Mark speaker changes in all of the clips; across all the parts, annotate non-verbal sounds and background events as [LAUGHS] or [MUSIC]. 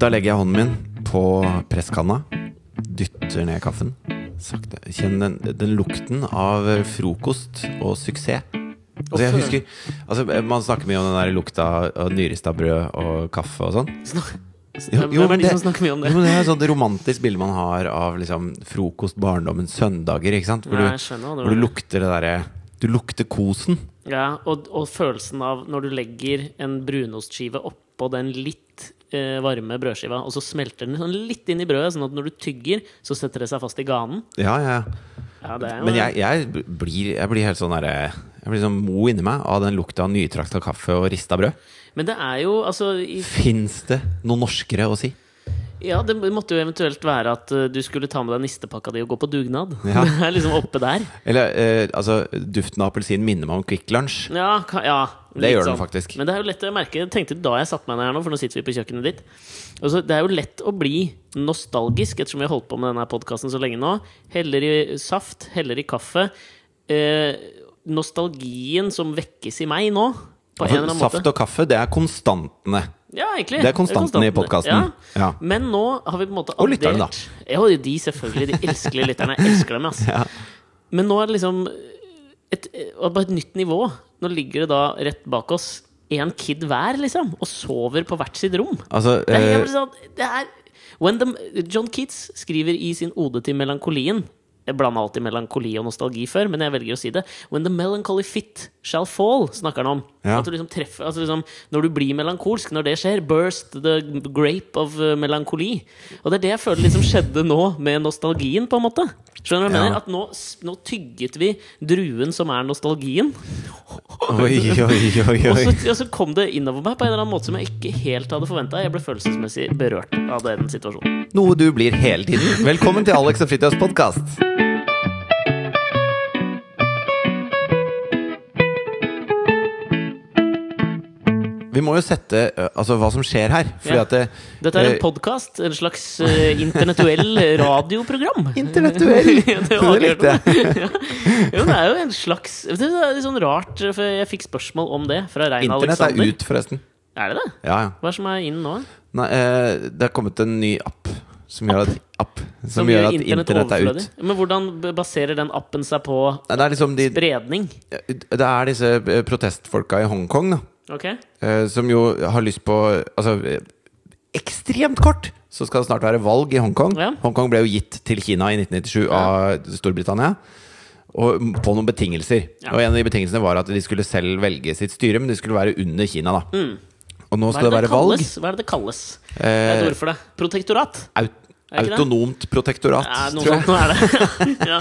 Speaker 1: Da legger jeg hånden min på presskanna, dytter ned kaffen. Sakte. Kjenn den, den lukten av frokost og suksess. Altså jeg husker, altså Man snakker mye om den der lukta av Nyrestadbrød og kaffe og sånn. Jo, jo,
Speaker 2: Hvem er de
Speaker 1: det-
Speaker 2: som snakker mye om det?
Speaker 1: Jo, men det er et sånt romantisk bilde man har av liksom, frokost, barndommen, søndager. ikke sant? Hvor
Speaker 2: Ja,
Speaker 1: du,
Speaker 2: jeg skjønner hva
Speaker 1: hvor du
Speaker 2: du
Speaker 1: lukter det derre Du lukter kosen.
Speaker 2: Ja, og, og følelsen av når du legger en brunostskive oppå den litt eh, varme brødskiva, og så smelter den sånn litt inn i brødet, sånn at når du tygger, så setter det seg fast i ganen.
Speaker 1: Ja, ja. ja.
Speaker 2: Ja, det er jo
Speaker 1: Men jeg, jeg, blir, jeg blir helt sånn derre Jeg blir sånn mo inni meg av den lukta av nytrakta kaffe og rista brød.
Speaker 2: Men det er jo altså i,
Speaker 1: Fins det noe norskere å si?
Speaker 2: Ja, det måtte jo eventuelt være at eh, du skulle ta med deg nistepakka di og gå på dugnad.
Speaker 1: Ja.
Speaker 2: [LAUGHS] Det er liksom oppe der.
Speaker 1: Eller eh, altså, duften av appelsin minner meg om Kvikk Lunsj.
Speaker 2: Ja, ka, ja
Speaker 1: Det
Speaker 2: litt sånn.
Speaker 1: gjør den faktisk.
Speaker 2: Men det er jo lett å merke Jeg tenkte da jeg satt meg ned her nå, for nå sitter vi på kjøkkenet ditt. Og så, det er jo lett å bli nostalgisk, ettersom vi har holdt på med denne podkasten så lenge nå. Heller i saft, heller i kaffe. Eh, nostalgien som vekkes i meg nå, på
Speaker 1: Altså,
Speaker 2: en eller annen måte.
Speaker 1: Saft og kaffe, det er konstantene.
Speaker 2: Ja, egentlig.
Speaker 1: Det er konstanten i podcasten. Ja.
Speaker 2: Ja. Men nå har vi på en måte
Speaker 1: Og lytterne, da.
Speaker 2: Ja, de selvfølgelig. De elskelige lytterne. Jeg elsker
Speaker 1: [LAUGHS]
Speaker 2: dem, ass. Men nå er det liksom et, og på et nytt nivå. Nå ligger det da rett bak oss én kid hver, liksom, og sover på hvert sitt rom.
Speaker 1: Altså,
Speaker 2: Det er,
Speaker 1: eh,
Speaker 2: helt sånn, det er when the, John Keats skriver i sin ode til melankolien Jeg blanda alltid melankoli og nostalgi før, men jeg velger å si det. When the melancholy fit shall fall, snakker han om.
Speaker 1: Ja.
Speaker 2: At du liksom treffer, altså liksom, når du blir melankolsk, når det skjer, burst the grape of eh, melankoli. Og det er det jeg føler liksom skjedde nå med nostalgien, på en måte. Skjønner du hva
Speaker 1: Ja.
Speaker 2: jeg mener? At nå, s- nå tygget vi druen som er nostalgien.
Speaker 1: oi, oi, oi,
Speaker 2: Og
Speaker 1: oi.
Speaker 2: så, og så kom det innover meg på en eller annen måte som jeg ikke helt hadde forventa. Jeg ble følelsesmessig berørt av den situasjonen.
Speaker 1: Noe du blir hele tiden. Velkommen til Alex og Fridtjofs podkast. Vi må jo sette eh, altså, hva som skjer her. Fordi
Speaker 2: Ja.
Speaker 1: at det,
Speaker 2: Dette er en
Speaker 1: eh,
Speaker 2: podkast, en slags eh, internettuell
Speaker 1: [LAUGHS]
Speaker 2: radioprogram.
Speaker 1: Intellektuell!
Speaker 2: [LAUGHS] Ja, det var
Speaker 1: det likte jeg.
Speaker 2: [LAUGHS] Ja. Jo, det er jo en slags Det er litt sånn rart, for jeg fikk spørsmål om det fra Rein
Speaker 1: Internett
Speaker 2: Alexander.
Speaker 1: er ut, forresten.
Speaker 2: Er det det?
Speaker 1: Ja, ja.
Speaker 2: Hva er det som er inn nå?
Speaker 1: Nei, eh, det er kommet en ny app som gjør at, app, som gjør at internett er ut.
Speaker 2: overflødig? Men hvordan b- baserer den appen seg på
Speaker 1: Nei, Det er liksom de
Speaker 2: bredning?
Speaker 1: Det er disse eh, protestfolka i Hongkong, da.
Speaker 2: Ok?
Speaker 1: Eh, som jo har lyst på Altså, eh, ekstremt kort! Så skal det snart være valg i Hongkong.
Speaker 2: Ja.
Speaker 1: Hongkong ble jo gitt til Kina i 1997 av Storbritannia. Og m- på noen betingelser.
Speaker 2: Ja.
Speaker 1: Og en av de betingelsene var at de skulle selv velge sitt styre, men de skulle være under Kina, da. Og nå
Speaker 2: Mm. Hva
Speaker 1: skal det
Speaker 2: er det, det
Speaker 1: være valg.
Speaker 2: kalles? Hva er det det kalles? Det er et
Speaker 1: Eh,
Speaker 2: ord for det. Protektorat?
Speaker 1: aut
Speaker 2: Er ikke det?
Speaker 1: autonomt protektorat,
Speaker 2: Ja, noe
Speaker 1: tror jeg.
Speaker 2: sånt nå er
Speaker 1: [LAUGHS]
Speaker 2: det. ja.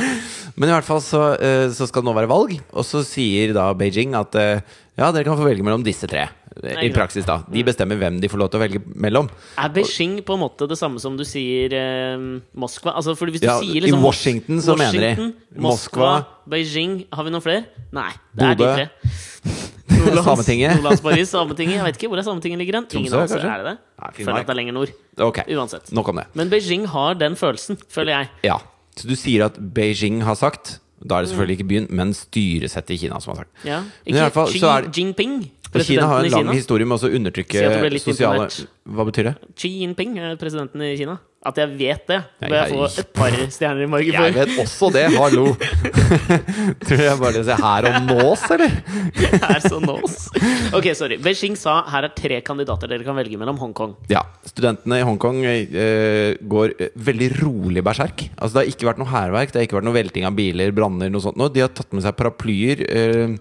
Speaker 1: Men i hvert fall så, eh, så skal det nå være valg, og så sier da Beijing at eh, ja, dere kan få velge mellom disse tre. eh, I
Speaker 2: Nei, ikke
Speaker 1: praksis, da. De bestemmer hvem de får lov til å velge mellom.
Speaker 2: Er Beijing på en måte det samme som du sier eh, Moskva? Altså, fordi hvis du
Speaker 1: Ja,
Speaker 2: sier liksom
Speaker 1: I Washington så mener de.
Speaker 2: Washington, Moskva,
Speaker 1: Moskva.
Speaker 2: Beijing Har vi noen flere? Nei. Det er
Speaker 1: Bodø.
Speaker 2: de tre. Nordlands-
Speaker 1: Sametinget.
Speaker 2: Nordlands Paris, Sametinget. Jeg vet ikke hvor er Sametinget ligger hen. Ingen
Speaker 1: Tromsø,
Speaker 2: anelse.
Speaker 1: kanskje?
Speaker 2: Er det det?
Speaker 1: Nei, Finnmark.
Speaker 2: føler at det er lenger nord.
Speaker 1: Ok,
Speaker 2: Uansett.
Speaker 1: nok om det.
Speaker 2: Men Beijing har den følelsen, føler jeg.
Speaker 1: Ja. Så du sier at Beijing har sagt. Da er det selvfølgelig ikke byen, men styresettet i Kina som har sagt.
Speaker 2: Ja.
Speaker 1: Men i
Speaker 2: Ikke
Speaker 1: hvert fall
Speaker 2: Xi
Speaker 1: så er det-
Speaker 2: Jinping,
Speaker 1: Og Kina har
Speaker 2: presidenten
Speaker 1: en
Speaker 2: i
Speaker 1: lang
Speaker 2: Kina.
Speaker 1: historie med også å
Speaker 2: Si at du ble
Speaker 1: undertrykke
Speaker 2: litt
Speaker 1: sosiale
Speaker 2: imponert.
Speaker 1: Hva betyr det?
Speaker 2: Xi Jinping er presidenten i Kina. At jeg vet det,
Speaker 1: Nei,
Speaker 2: bør jeg
Speaker 1: jeg-
Speaker 2: få et par stjerner i margen
Speaker 1: Jeg
Speaker 2: [LAUGHS] for.
Speaker 1: vet også det, hallo! [LAUGHS] Tror du jeg bare ser her og nå, eller?
Speaker 2: er så nås. Ok, sorry. Beijing sa her er tre kandidater dere kan velge mellom Hongkong.
Speaker 1: Ja. Studentene i Hongkong eh, går eh, veldig rolig berserk. Altså, det har ikke vært noe hærverk, det har ikke vært noe velting av biler, branner, noe sånt. noe. De har tatt med seg paraplyer. Eh,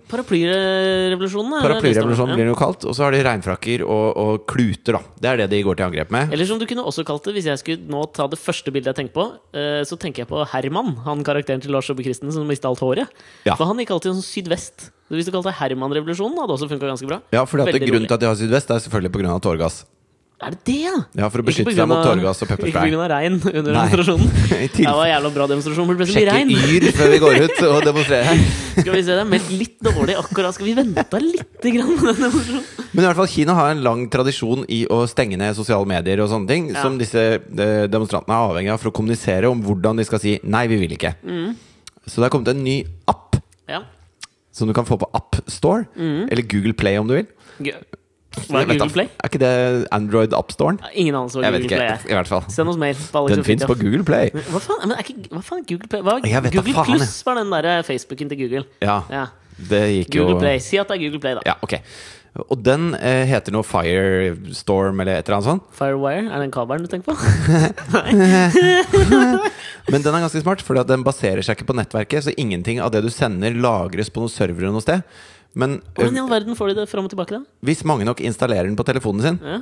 Speaker 2: Paraplyrevolusjonen? er det
Speaker 1: Paraplyrevolusjonen
Speaker 2: det
Speaker 1: blir det jo kalt. Og så har de regnfrakker og, og kluter, da. Det er det de går til angrep
Speaker 2: står?
Speaker 1: med.
Speaker 2: Eller som du kunne også kalt det, hvis jeg skulle nå ta det første bildet jeg tenker på, eh, så tenker jeg på Herman, han karakteren til Lars Jobbe Christensen som mista alt håret.
Speaker 1: Ja.
Speaker 2: For han gikk alltid sånn sydvest. Så hvis du kalte det Herman-revolusjonen, hadde det også funka ganske bra.
Speaker 1: Ja, fordi at
Speaker 2: Veldig
Speaker 1: Grunnen
Speaker 2: rolig.
Speaker 1: til at de har sydvest, er selvfølgelig pga. tåregass.
Speaker 2: Er det det, ja?
Speaker 1: Ja, for å
Speaker 2: Ikke på
Speaker 1: beskytte
Speaker 2: grunn
Speaker 1: seg mot
Speaker 2: av-
Speaker 1: tåregass og
Speaker 2: [LAUGHS] Ikke
Speaker 1: pepperspray.
Speaker 2: pga. regn under
Speaker 1: Nei. [LAUGHS]
Speaker 2: demonstrasjonen.
Speaker 1: I
Speaker 2: Det var
Speaker 1: tilfelle-
Speaker 2: en jævla bra demonstrasjon, men det ble så mye
Speaker 1: Sjekke
Speaker 2: regn.
Speaker 1: yr før vi går ut
Speaker 2: [LAUGHS]
Speaker 1: og demonstrerer her.
Speaker 2: Skal vi se, det er meldt litt dårlig akkurat. Skal vi vente lite grann med den demonstrasjonen?
Speaker 1: Men i hvert fall Kina har en lang tradisjon i å stenge ned sosiale medier og sånne ting,
Speaker 2: Ja.
Speaker 1: som disse eh, demonstrantene er avhengig av for å kommunisere om hvordan de skal si 'nei, vi vil ikke'.
Speaker 2: Mm.
Speaker 1: Så det er kommet en ny app
Speaker 2: Ja.
Speaker 1: som du kan få på App Store, eller Google Play om du vil.
Speaker 2: Gøy. Mm. Hva er
Speaker 1: Jeg vet da-
Speaker 2: Google Play?
Speaker 1: Er ikke det Android Upstoren?
Speaker 2: Ingen anelse hva
Speaker 1: Jeg vet
Speaker 2: Google
Speaker 1: ikke.
Speaker 2: Play er.
Speaker 1: I hvert fall.
Speaker 2: Send oss mail. på Alex
Speaker 1: Den
Speaker 2: og
Speaker 1: fins på
Speaker 2: Fridtjof.
Speaker 1: Google Play.
Speaker 2: Hva faen, men er ikke, hva faen er Google Play? Hva,
Speaker 1: Jeg vet da
Speaker 2: Google
Speaker 1: faen, jeg.
Speaker 2: Plus var den der eh, Facebooken til Google.
Speaker 1: Ja,
Speaker 2: Ja.
Speaker 1: det gikk jo eh,
Speaker 2: Google Play. Si at det er Google Play, da.
Speaker 1: Ja, ok. Og den eh, heter noe Firestorm eller et eller annet sånt.
Speaker 2: Firewire, er den kabelen du tenker på? [LAUGHS]
Speaker 1: Men den er ganske smart, for den baserer seg ikke på nettverket. Så ingenting av det du sender, lagres på noen servere noe sted. Men eh,
Speaker 2: Hvordan i all verden får de det fram og tilbake, da?
Speaker 1: hvis mange nok installerer den på telefonen sin,
Speaker 2: Ja.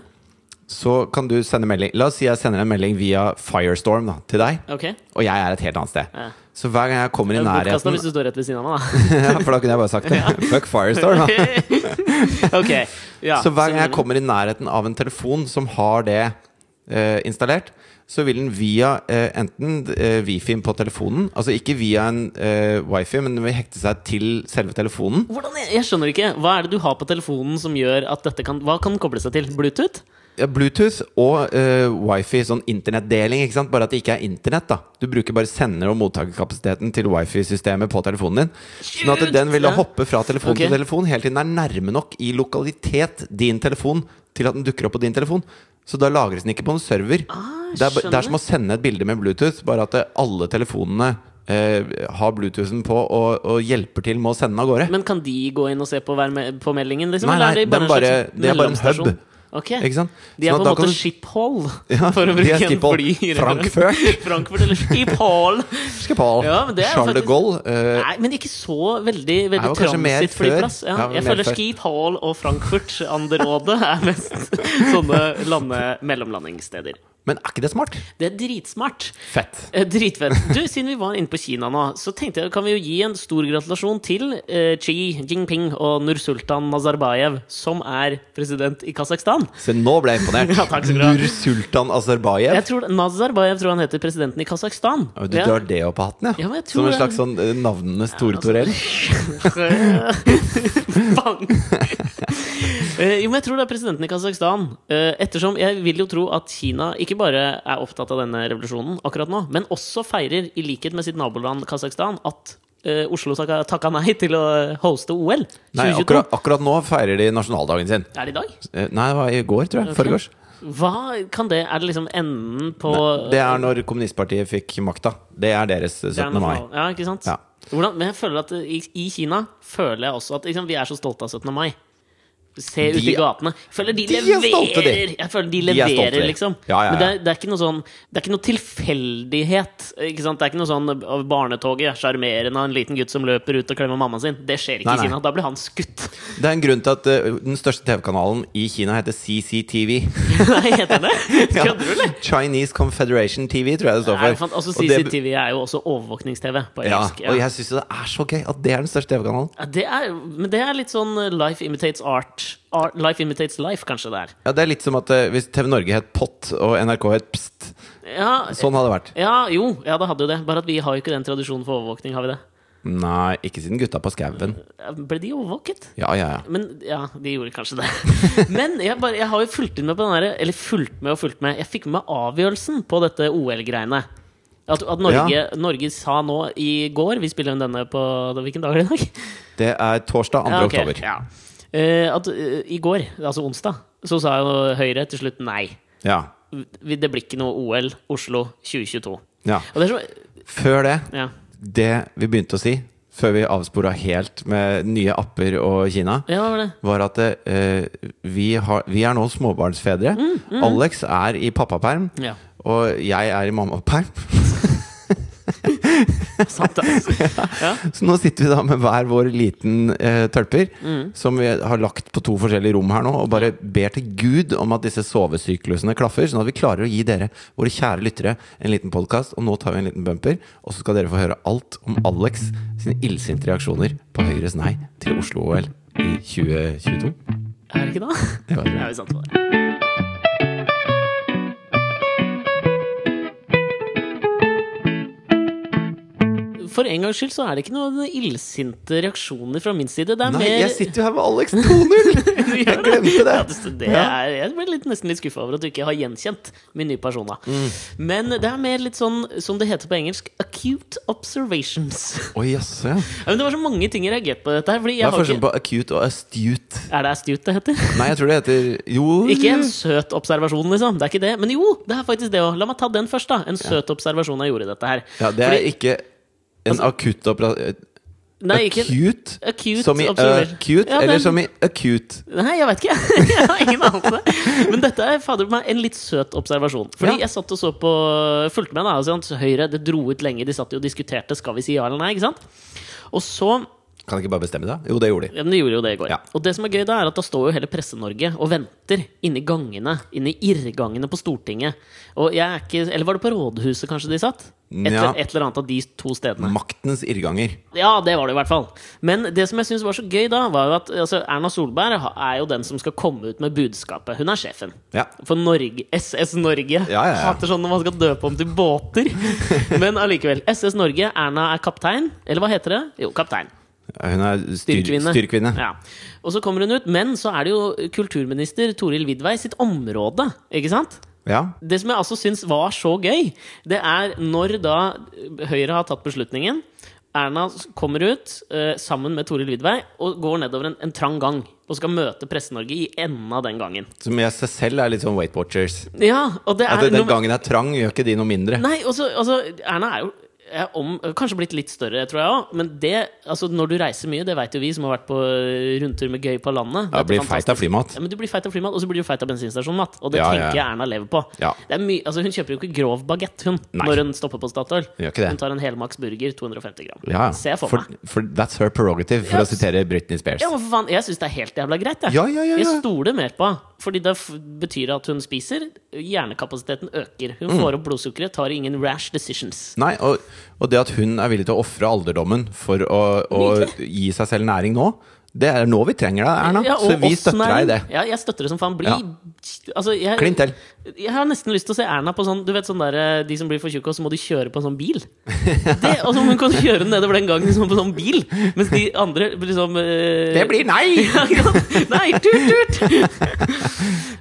Speaker 1: så kan du sende melding La oss si jeg sender en melding via Firestorm da, til deg,
Speaker 2: Ok.
Speaker 1: og jeg er et helt annet sted.
Speaker 2: Ja.
Speaker 1: Så hver gang jeg kommer i
Speaker 2: Bortkasta
Speaker 1: nærheten
Speaker 2: hvis du står rett ved siden av meg,
Speaker 1: [LAUGHS] ja, For da kunne jeg bare sagt det. Fuck Firestorm, da.
Speaker 2: da. [LAUGHS] ok. Ja.
Speaker 1: Så hver gang jeg
Speaker 2: så-
Speaker 1: kommer i nærheten av en telefon som har det eh, installert, så vil den via eh, enten uh, Wifi-en på telefonen, altså ikke via en eh, wifi, men den vil hekte seg til selve telefonen.
Speaker 2: Hvordan, jeg, jeg skjønner ikke. Hva er det du har på telefonen som gjør at dette kan Hva kan den koble seg til? Bluetooth?
Speaker 1: Ja, Bluetooth og eh, wifi, sånn internettdeling, ikke sant? bare at det ikke er internett. da Du bruker bare sender- og mottakerkapasiteten til wifi-systemet på telefonen din. Sånn at den vil da
Speaker 2: Ja.
Speaker 1: hoppe fra telefon
Speaker 2: Ok.
Speaker 1: til telefon helt til den er nærme nok i lokalitet din telefon til at den dukker opp på din telefon. Så da lagres den ikke på en server. Ah,
Speaker 2: Ah.
Speaker 1: det, er, ba- det
Speaker 2: skjønner.
Speaker 1: er som å sende et bilde med Bluetooth, bare at eh, alle telefonene eh, har Bluetoothen på og, og hjelper til med å sende den av gårde.
Speaker 2: Men kan de gå inn og se på, hver me på meldingen, liksom?
Speaker 1: Nei, nei,
Speaker 2: Eller er det bare
Speaker 1: den
Speaker 2: en
Speaker 1: bare-
Speaker 2: slags
Speaker 1: det er bare en hub.
Speaker 2: mellomstasjon? Ok.
Speaker 1: Ikke sant?
Speaker 2: De er
Speaker 1: Sånn
Speaker 2: på
Speaker 1: at
Speaker 2: en
Speaker 1: da kan
Speaker 2: måte
Speaker 1: du-
Speaker 2: Schiphol, [LAUGHS] for
Speaker 1: [LAUGHS] de
Speaker 2: å
Speaker 1: er
Speaker 2: bruke en
Speaker 1: Schiphol.
Speaker 2: fly.
Speaker 1: Frankfurt.
Speaker 2: [LAUGHS] Frankfurt eller Schiphol.
Speaker 1: [LAUGHS] Skepal,
Speaker 2: [LAUGHS] Ja, men det er jo
Speaker 1: Charles de
Speaker 2: faktisk-
Speaker 1: Gaulle eh,
Speaker 2: Nei, men ikke så veldig, veldig
Speaker 1: var kanskje mer
Speaker 2: transittflyplass.
Speaker 1: før.
Speaker 2: Ja,
Speaker 1: Ja,
Speaker 2: jeg
Speaker 1: mer
Speaker 2: føler
Speaker 1: før.
Speaker 2: Schiphol og Frankfurt under rådet er mest [LAUGHS] sånne lande mellomlandingssteder.
Speaker 1: Men er ikke det smart?
Speaker 2: Det er dritsmart.
Speaker 1: Fett.
Speaker 2: Eh, Dritfett. Du, siden vi var inne på Kina nå, så tenkte jeg kan vi jo gi en stor gratulasjon til eh, Xi Jinping og Nursultan Nazarbayev, som er president i Kasakhstan.
Speaker 1: Se, nå ble jeg imponert.
Speaker 2: [LAUGHS] Ja, takk skal du ha.
Speaker 1: Nursultan Azerbayev.
Speaker 2: Jeg tror, Nazarbayev tror han heter presidenten i Kasakhstan.
Speaker 1: Ja, Du drar det opp av hatten, ja?
Speaker 2: Ja, men jeg
Speaker 1: Som en
Speaker 2: tror det. altså,
Speaker 1: slags sånn eh, navnenes Tore Torell?
Speaker 2: Bang! Eh, jo, men jeg tror det er presidenten i Kasakhstan. Eh, ettersom jeg vil jo tro at Kina ikke bare er opptatt av denne revolusjonen akkurat nå, men også feirer, i likhet med sitt naboland Kasakhstan, at eh, Oslo takka, takka nei til å hoste OL 2022.
Speaker 1: Nei, akkurat, akkurat nå feirer de nasjonaldagen sin.
Speaker 2: Er det i dag?
Speaker 1: Eh, Nei, det var i går, tror jeg. Foregårs.
Speaker 2: Hva kan det Er det liksom enden på
Speaker 1: Det er når kommunistpartiet fikk makta. Det er deres eh,
Speaker 2: Det er
Speaker 1: 17. mai.
Speaker 2: nasjonal- Ja, ikke sant?
Speaker 1: Ja.
Speaker 2: Hvordan, men jeg føler at eh, i, i Kina føler jeg også at liksom, vi er så stolte av 17. mai. Se ut
Speaker 1: De-
Speaker 2: i gatene. Jeg føler de,
Speaker 1: De er
Speaker 2: leverer!
Speaker 1: stolte, de.
Speaker 2: Jeg føler de
Speaker 1: De er stolte,
Speaker 2: leverer,
Speaker 1: de.
Speaker 2: liksom.
Speaker 1: Ja, ja, ja.
Speaker 2: Men det er, det er ikke noe sånn Det er ikke noe tilfeldighet. Ikke sant? Det er ikke noe sånn av barnetoget er sjarmerende av en liten gutt som løper ut og klemmer mammaen sin. Det skjer ikke
Speaker 1: Nei, nei.
Speaker 2: i Kina. Da blir han skutt. [LAUGHS]
Speaker 1: Det er en grunn til at eh, den største TV-kanalen i Kina heter CCTV.
Speaker 2: Nei, heter det
Speaker 1: Ja.
Speaker 2: [LAUGHS] Kødder du, eller?
Speaker 1: Chinese Confederation TV, tror jeg det står
Speaker 2: Nei,
Speaker 1: for.
Speaker 2: fant, altså,
Speaker 1: Og det-
Speaker 2: CCTV er jo også overvåknings-TV på
Speaker 1: Ja,
Speaker 2: engelsk.
Speaker 1: og jeg syns det er så gøy at det er den største TV-kanalen.
Speaker 2: Ja, Det er, men det er litt sånn eh, life imitates art. art life imitates life, kanskje det er.
Speaker 1: Ja, Det er litt som at eh, hvis TV Norge het Pott og NRK het Pst.
Speaker 2: Ja,
Speaker 1: Sånn hadde det vært.
Speaker 2: ja jo, ja, det hadde jo det. Bare at vi har jo ikke den tradisjonen for overvåkning, har vi det?
Speaker 1: Nei, ikke siden Gutta på skauen.
Speaker 2: Ja, Ble de overvåket?
Speaker 1: Ja, ja, ja.
Speaker 2: Men ja, de gjorde kanskje det. Men jeg, bare, jeg har jo fulgt med på den derre Eller fulgt med og fulgt med. Jeg fikk med meg avgjørelsen på dette OL-greiene. At, at Norge, Norge sa nå i går Vi spiller jo denne på Hvilken dag er det i dag?
Speaker 1: Det er torsdag 2.
Speaker 2: Ja, ok,
Speaker 1: oktober.
Speaker 2: Ja. Eh, at eh, i går, altså onsdag, så sa jo Høyre til slutt nei.
Speaker 1: Ja.
Speaker 2: vi- det blir ikke noe OL Oslo 2022.
Speaker 1: ja.
Speaker 2: Og det er så,
Speaker 1: Før det,
Speaker 2: ja.
Speaker 1: det vi begynte å si, før vi avspora helt med nye apper og Kina,
Speaker 2: ja, hva var det?
Speaker 1: var at eh, vi, har, vi er nå småbarnsfedre. Alex er i pappaperm,
Speaker 2: Ja,
Speaker 1: og jeg er i mammaperm. [LAUGHS]
Speaker 2: sant [LAUGHS] altså. Ja.
Speaker 1: Så nå sitter vi da med hver vår liten eh, tølper, som vi har lagt på to forskjellige rom her nå, og bare ber til Gud om at disse sovesyklusene klaffer, sånn at vi klarer å gi dere, våre kjære lyttere, en liten podkast. Og nå tar vi en liten bumper, og så skal dere få høre alt om Alex sine illsinte reaksjoner på Høyres nei til Oslo-OL i 2022.
Speaker 2: Er det ikke da?
Speaker 1: Det var
Speaker 2: Ja,
Speaker 1: det.
Speaker 2: vi sant på det. for en gangs skyld så er det ikke noen illsinte reaksjoner fra min side. Det er
Speaker 1: Nei,
Speaker 2: mer
Speaker 1: jeg sitter jo her med Alex 2.0! Jeg glemte
Speaker 2: Ja,
Speaker 1: det!
Speaker 2: det, det er, jeg ble litt, nesten litt skuffa over at du ikke har gjenkjent min nye persona. Men det er mer litt sånn, som det heter på engelsk, acute observations.
Speaker 1: Å jaså, ja.
Speaker 2: Ja, men det var så mange ting jeg reagerte på dette her. Fordi
Speaker 1: Hva
Speaker 2: jeg
Speaker 1: er
Speaker 2: har
Speaker 1: forskjellen
Speaker 2: ikke,
Speaker 1: på acute og astute?
Speaker 2: er det astute det heter? [LAUGHS]
Speaker 1: Nei, jeg tror det heter Jo
Speaker 2: Ikke en søt observasjon, liksom. Det er ikke det. Men jo, det er faktisk det òg. La meg ta den først, da. En søt observasjon jeg gjorde i dette her.
Speaker 1: Ja, det er
Speaker 2: Fordi- Altså-
Speaker 1: ikke en akutt operasjon
Speaker 2: Nei, ikke
Speaker 1: Acute?
Speaker 2: acute
Speaker 1: Som i
Speaker 2: observation.
Speaker 1: acute,
Speaker 2: Ja,
Speaker 1: eller
Speaker 2: men-
Speaker 1: som i acute?
Speaker 2: Nei, jeg veit ikke. [LAUGHS] Jeg har ingen anelse. Men dette er fader meg en litt søt observasjon. Fordi
Speaker 1: Ja.
Speaker 2: jeg satt og så på fulgte med. da altså, at Høyre det dro ut lenge. De satt jo og diskuterte skal vi si ja eller nei. ikke sant? Og så
Speaker 1: Kan de ikke bare bestemme det? Jo, det gjorde de.
Speaker 2: ja, men De gjorde jo det i går.
Speaker 1: Ja.
Speaker 2: Og det som er gøy, da er at da står jo hele Presse-Norge og venter inni gangene. Inni irrgangene på Stortinget. Og jeg er ikke Eller var det på Rådhuset kanskje de satt? Et,
Speaker 1: Ja.
Speaker 2: et eller annet av de to stedene.
Speaker 1: Maktens irrganger.
Speaker 2: Ja, det var det i hvert fall. Men det som jeg syns var så gøy da, var jo at altså, Erna Solberg ha- er jo den som skal komme ut med budskapet. Hun er sjefen.
Speaker 1: Ja.
Speaker 2: For Norge, SS Norge.
Speaker 1: ja, ja.
Speaker 2: Hater sånn når man skal døpe om til båter.
Speaker 1: [LAUGHS]
Speaker 2: Men allikevel. SS Norge, Erna er kaptein. Eller hva heter det? Jo, kaptein.
Speaker 1: Hun er styr,
Speaker 2: Styrkvinne.
Speaker 1: styrkvinne.
Speaker 2: Ja. Og så kommer hun ut. Men så er det jo kulturminister Toril Vidvei sitt område, ikke sant?
Speaker 1: Ja.
Speaker 2: Det som jeg altså syns var så gøy, det er når da Høyre har tatt beslutningen. Erna kommer ut eh, sammen med Toril Vidvei og går nedover en, en trang gang. Og skal møte Presse-Norge i enden av den gangen.
Speaker 1: Som jeg seg selv er litt sånn Weight Watchers.
Speaker 2: Ja, og det
Speaker 1: At
Speaker 2: er
Speaker 1: den
Speaker 2: noe-
Speaker 1: gangen er trang, gjør ikke de noe mindre.
Speaker 2: Nei, også, altså, Erna er jo er om, kanskje blitt litt større, tror jeg òg. Men det, altså, når du reiser mye, det vet jo vi som har vært på eh, rundtur med Gøy på landet
Speaker 1: Ja,
Speaker 2: Dette
Speaker 1: blir
Speaker 2: er
Speaker 1: feit av
Speaker 2: fantastisk.
Speaker 1: flymat.
Speaker 2: Ja, men Du blir feit av flymat, og så blir du feit av bensinstasjonmat. Og det
Speaker 1: Ja, ja, ja.
Speaker 2: tenker jeg Erna lever på.
Speaker 1: Ja.
Speaker 2: Det er mye- altså, hun kjøper jo ikke grov bagett hun,
Speaker 1: Nei.
Speaker 2: når hun stopper på Statoil.
Speaker 1: Gjør ikke det.
Speaker 2: Hun tar en helmaks burger, 250 gram.
Speaker 1: Ja,
Speaker 2: Ser jeg for,
Speaker 1: for,
Speaker 2: meg.
Speaker 1: for that's her prerogative, for
Speaker 2: Ja.
Speaker 1: å sitere Britney Spears.
Speaker 2: Ja, men for faen, Jeg syns det er helt jævla greit. Jeg,
Speaker 1: Ja, ja, ja, ja.
Speaker 2: jeg stoler mer på henne. Fordi det f betyr at hun spiser, hjernekapasiteten øker.
Speaker 1: Mm.
Speaker 2: Hun får opp blodsukkeret, tar ingen rash decisions.
Speaker 1: Nei, og, og det at hun er villig til å ofre alderdommen for å, å gi seg selv næring nå, det er nå vi trenger deg, Erna.
Speaker 2: Ja, og
Speaker 1: Så vi
Speaker 2: oss
Speaker 1: støtter deg i det.
Speaker 2: næring. Ja, jeg støtter det som faen. Bli
Speaker 1: Ja.
Speaker 2: altså, jeg,
Speaker 1: Klin til.
Speaker 2: Jeg har nesten lyst til å se Erna på sånn Du vet sånn der, eh, De som blir for tjukke, og så må de kjøre på en sånn
Speaker 1: [LAUGHS]
Speaker 2: bil. Det, altså, hun kan kjøre nedover den gangen sånn på sånn bil, mens de andre liksom eh,
Speaker 1: Det blir nei!
Speaker 2: [LAUGHS] Ja, ikke sant? Nei, tut, [LAUGHS] tut!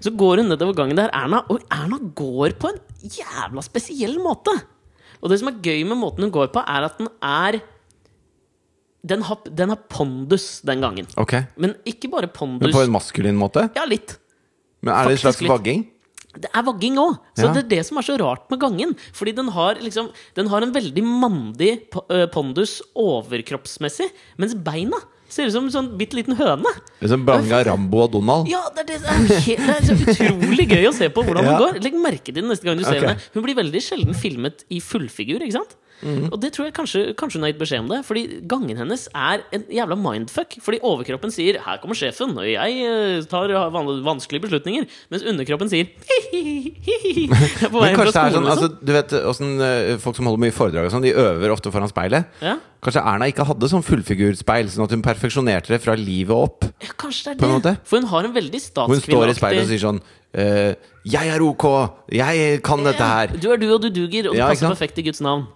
Speaker 2: Så går hun nedover gangen der, Erna, og Erna går på en jævla spesiell måte. Og det som er gøy med måten hun går på, er at den er Den har, den har pondus den gangen.
Speaker 1: Ok,
Speaker 2: Men ikke bare pondus.
Speaker 1: men på en maskulin måte?
Speaker 2: Ja, litt.
Speaker 1: Men er det en
Speaker 2: Faktisk
Speaker 1: slags
Speaker 2: litt.
Speaker 1: vagging?
Speaker 2: Det er vagging òg. Så
Speaker 1: Ja.
Speaker 2: det er det som er så rart med gangen. Fordi den har, liksom, den har en veldig mandig po- øh, pondus overkroppsmessig, mens beina ser ut som en sånn bitte liten høne.
Speaker 1: Liksom blanding av Rambo og Donald?
Speaker 2: Ja, det er, det, det, er he- det er så utrolig gøy å se på hvordan
Speaker 1: Ja.
Speaker 2: hun går. Legg merke til det neste gang du ser
Speaker 1: Ok.
Speaker 2: henne. Hun blir veldig sjelden filmet i fullfigur, ikke sant?
Speaker 1: Mhm.
Speaker 2: Og det tror jeg kanskje, kanskje hun har gitt beskjed om det. Fordi gangen hennes er en jævla mindfuck. Fordi overkroppen sier 'her kommer sjefen', og jeg eh, tar van- vanskelige beslutninger. Mens underkroppen sier [LAUGHS] «Hihihihi». Jeg er på vei
Speaker 1: Men
Speaker 2: hjem fra
Speaker 1: kanskje det er
Speaker 2: skolen,
Speaker 1: sånn, altså,
Speaker 2: liksom.
Speaker 1: du vet hvordan eh, folk som holder mye foredrag og sånn, de øver ofte foran speilet.
Speaker 2: Ja.
Speaker 1: Kanskje Erna ikke hadde sånn fullfigurspeil, sånn at hun perfeksjonerte det fra livet opp.
Speaker 2: Ja, kanskje det
Speaker 1: på en
Speaker 2: er det.
Speaker 1: måte.
Speaker 2: For hun har en veldig
Speaker 1: Hun står i speilet og
Speaker 2: statskvinneaktig
Speaker 1: sier sånn eh, Jeg er ok! Jeg kan dette her! [LAUGHS]
Speaker 2: Du er du, og du duger, og du
Speaker 1: Ja, ikke
Speaker 2: passer
Speaker 1: sant?
Speaker 2: perfekt i Guds navn.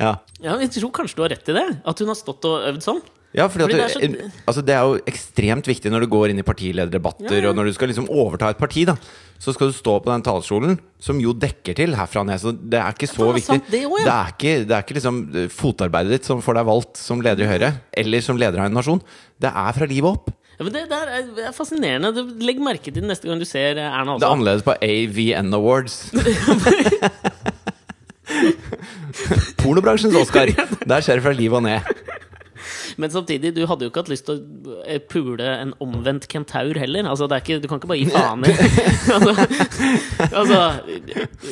Speaker 1: Ja,
Speaker 2: Ja, jeg tror kanskje du har rett i det. At hun har stått og øvd sånn.
Speaker 1: ja fordi
Speaker 2: Fordi
Speaker 1: at
Speaker 2: det
Speaker 1: du,
Speaker 2: er så-
Speaker 1: en- altså, det er jo ekstremt viktig når du går inn i partilederdebatter,
Speaker 2: Ja, ja.
Speaker 1: og når du skal liksom overta et parti, da. Så skal du stå på den talerstolen, som jo dekker til herfra og ned. Så det er ikke så
Speaker 2: faen, det er
Speaker 1: viktig.
Speaker 2: sant det også, ja.
Speaker 1: det, er ikke, det er ikke liksom eh, fotarbeidet ditt som får deg valgt som leder i Høyre, eller som leder av en nasjon. Det er fra livet opp.
Speaker 2: Ja, men det, det er det er fascinerende. Du- Legg merke til det neste gang du ser eh, Erna
Speaker 1: Det er
Speaker 2: også.
Speaker 1: annerledes på AVN Awards.
Speaker 2: [LAUGHS]
Speaker 1: [LAUGHS] Pornobransjens Oscar. Der skjer det fra livet og ned.
Speaker 2: Men samtidig, du hadde jo ikke hatt lyst til å eh, pule en omvendt kentaur heller. Altså, det er ikke, du kan ikke bare gi
Speaker 1: [LAUGHS]
Speaker 2: faen i [LAUGHS] altså, altså,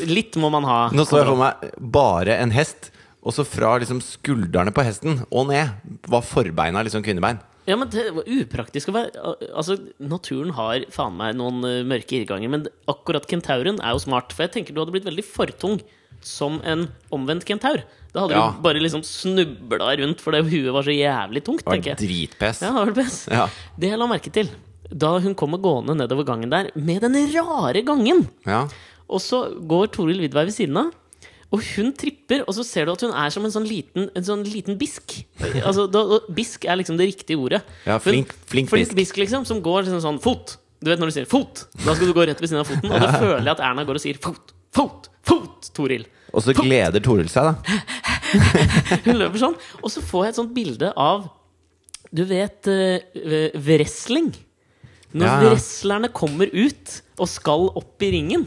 Speaker 2: litt må man ha.
Speaker 1: Nå så jeg for meg bare en hest, og så fra liksom skuldrene på hesten og ned var forbeina liksom kvinnebein.
Speaker 2: Ja, men det var upraktisk å være al- Altså, naturen har faen meg noen eh, mørke irrganger, men akkurat kentauren er jo smart. For jeg tenker du hadde blitt veldig fortung som en omvendt kentaur. Da hadde
Speaker 1: Ja.
Speaker 2: du bare liksom snubla rundt fordi huet var så jævlig tungt,
Speaker 1: Det var
Speaker 2: tenker jeg.
Speaker 1: dritpest.
Speaker 2: Ja, det var det best.
Speaker 1: Ja.
Speaker 2: Det jeg la merke til, da hun kommer gående nedover gangen der, med den rare gangen,
Speaker 1: Ja.
Speaker 2: og så går Toril Vidvei ved siden av, Og hun tripper, og så ser du at hun er som en sånn liten, en sånn liten bisk. Altså, da, da, bisk er liksom det riktige ordet.
Speaker 1: Ja, flink-
Speaker 2: Hun-
Speaker 1: flink bisk.
Speaker 2: liksom, som går liksom sånn fot. Du vet når du sier fot, da skal du gå rett ved siden av foten. Og da føler jeg at Erna går og sier fot, fot, fot, Toril.
Speaker 1: Og så gleder Toril seg, da.
Speaker 2: [LAUGHS] Hun løper sånn. Og så får jeg et sånt bilde av Du vet eh, eh, wrestling. Når
Speaker 1: Ja, ja.
Speaker 2: wrestlerne kommer ut og skal opp i ringen.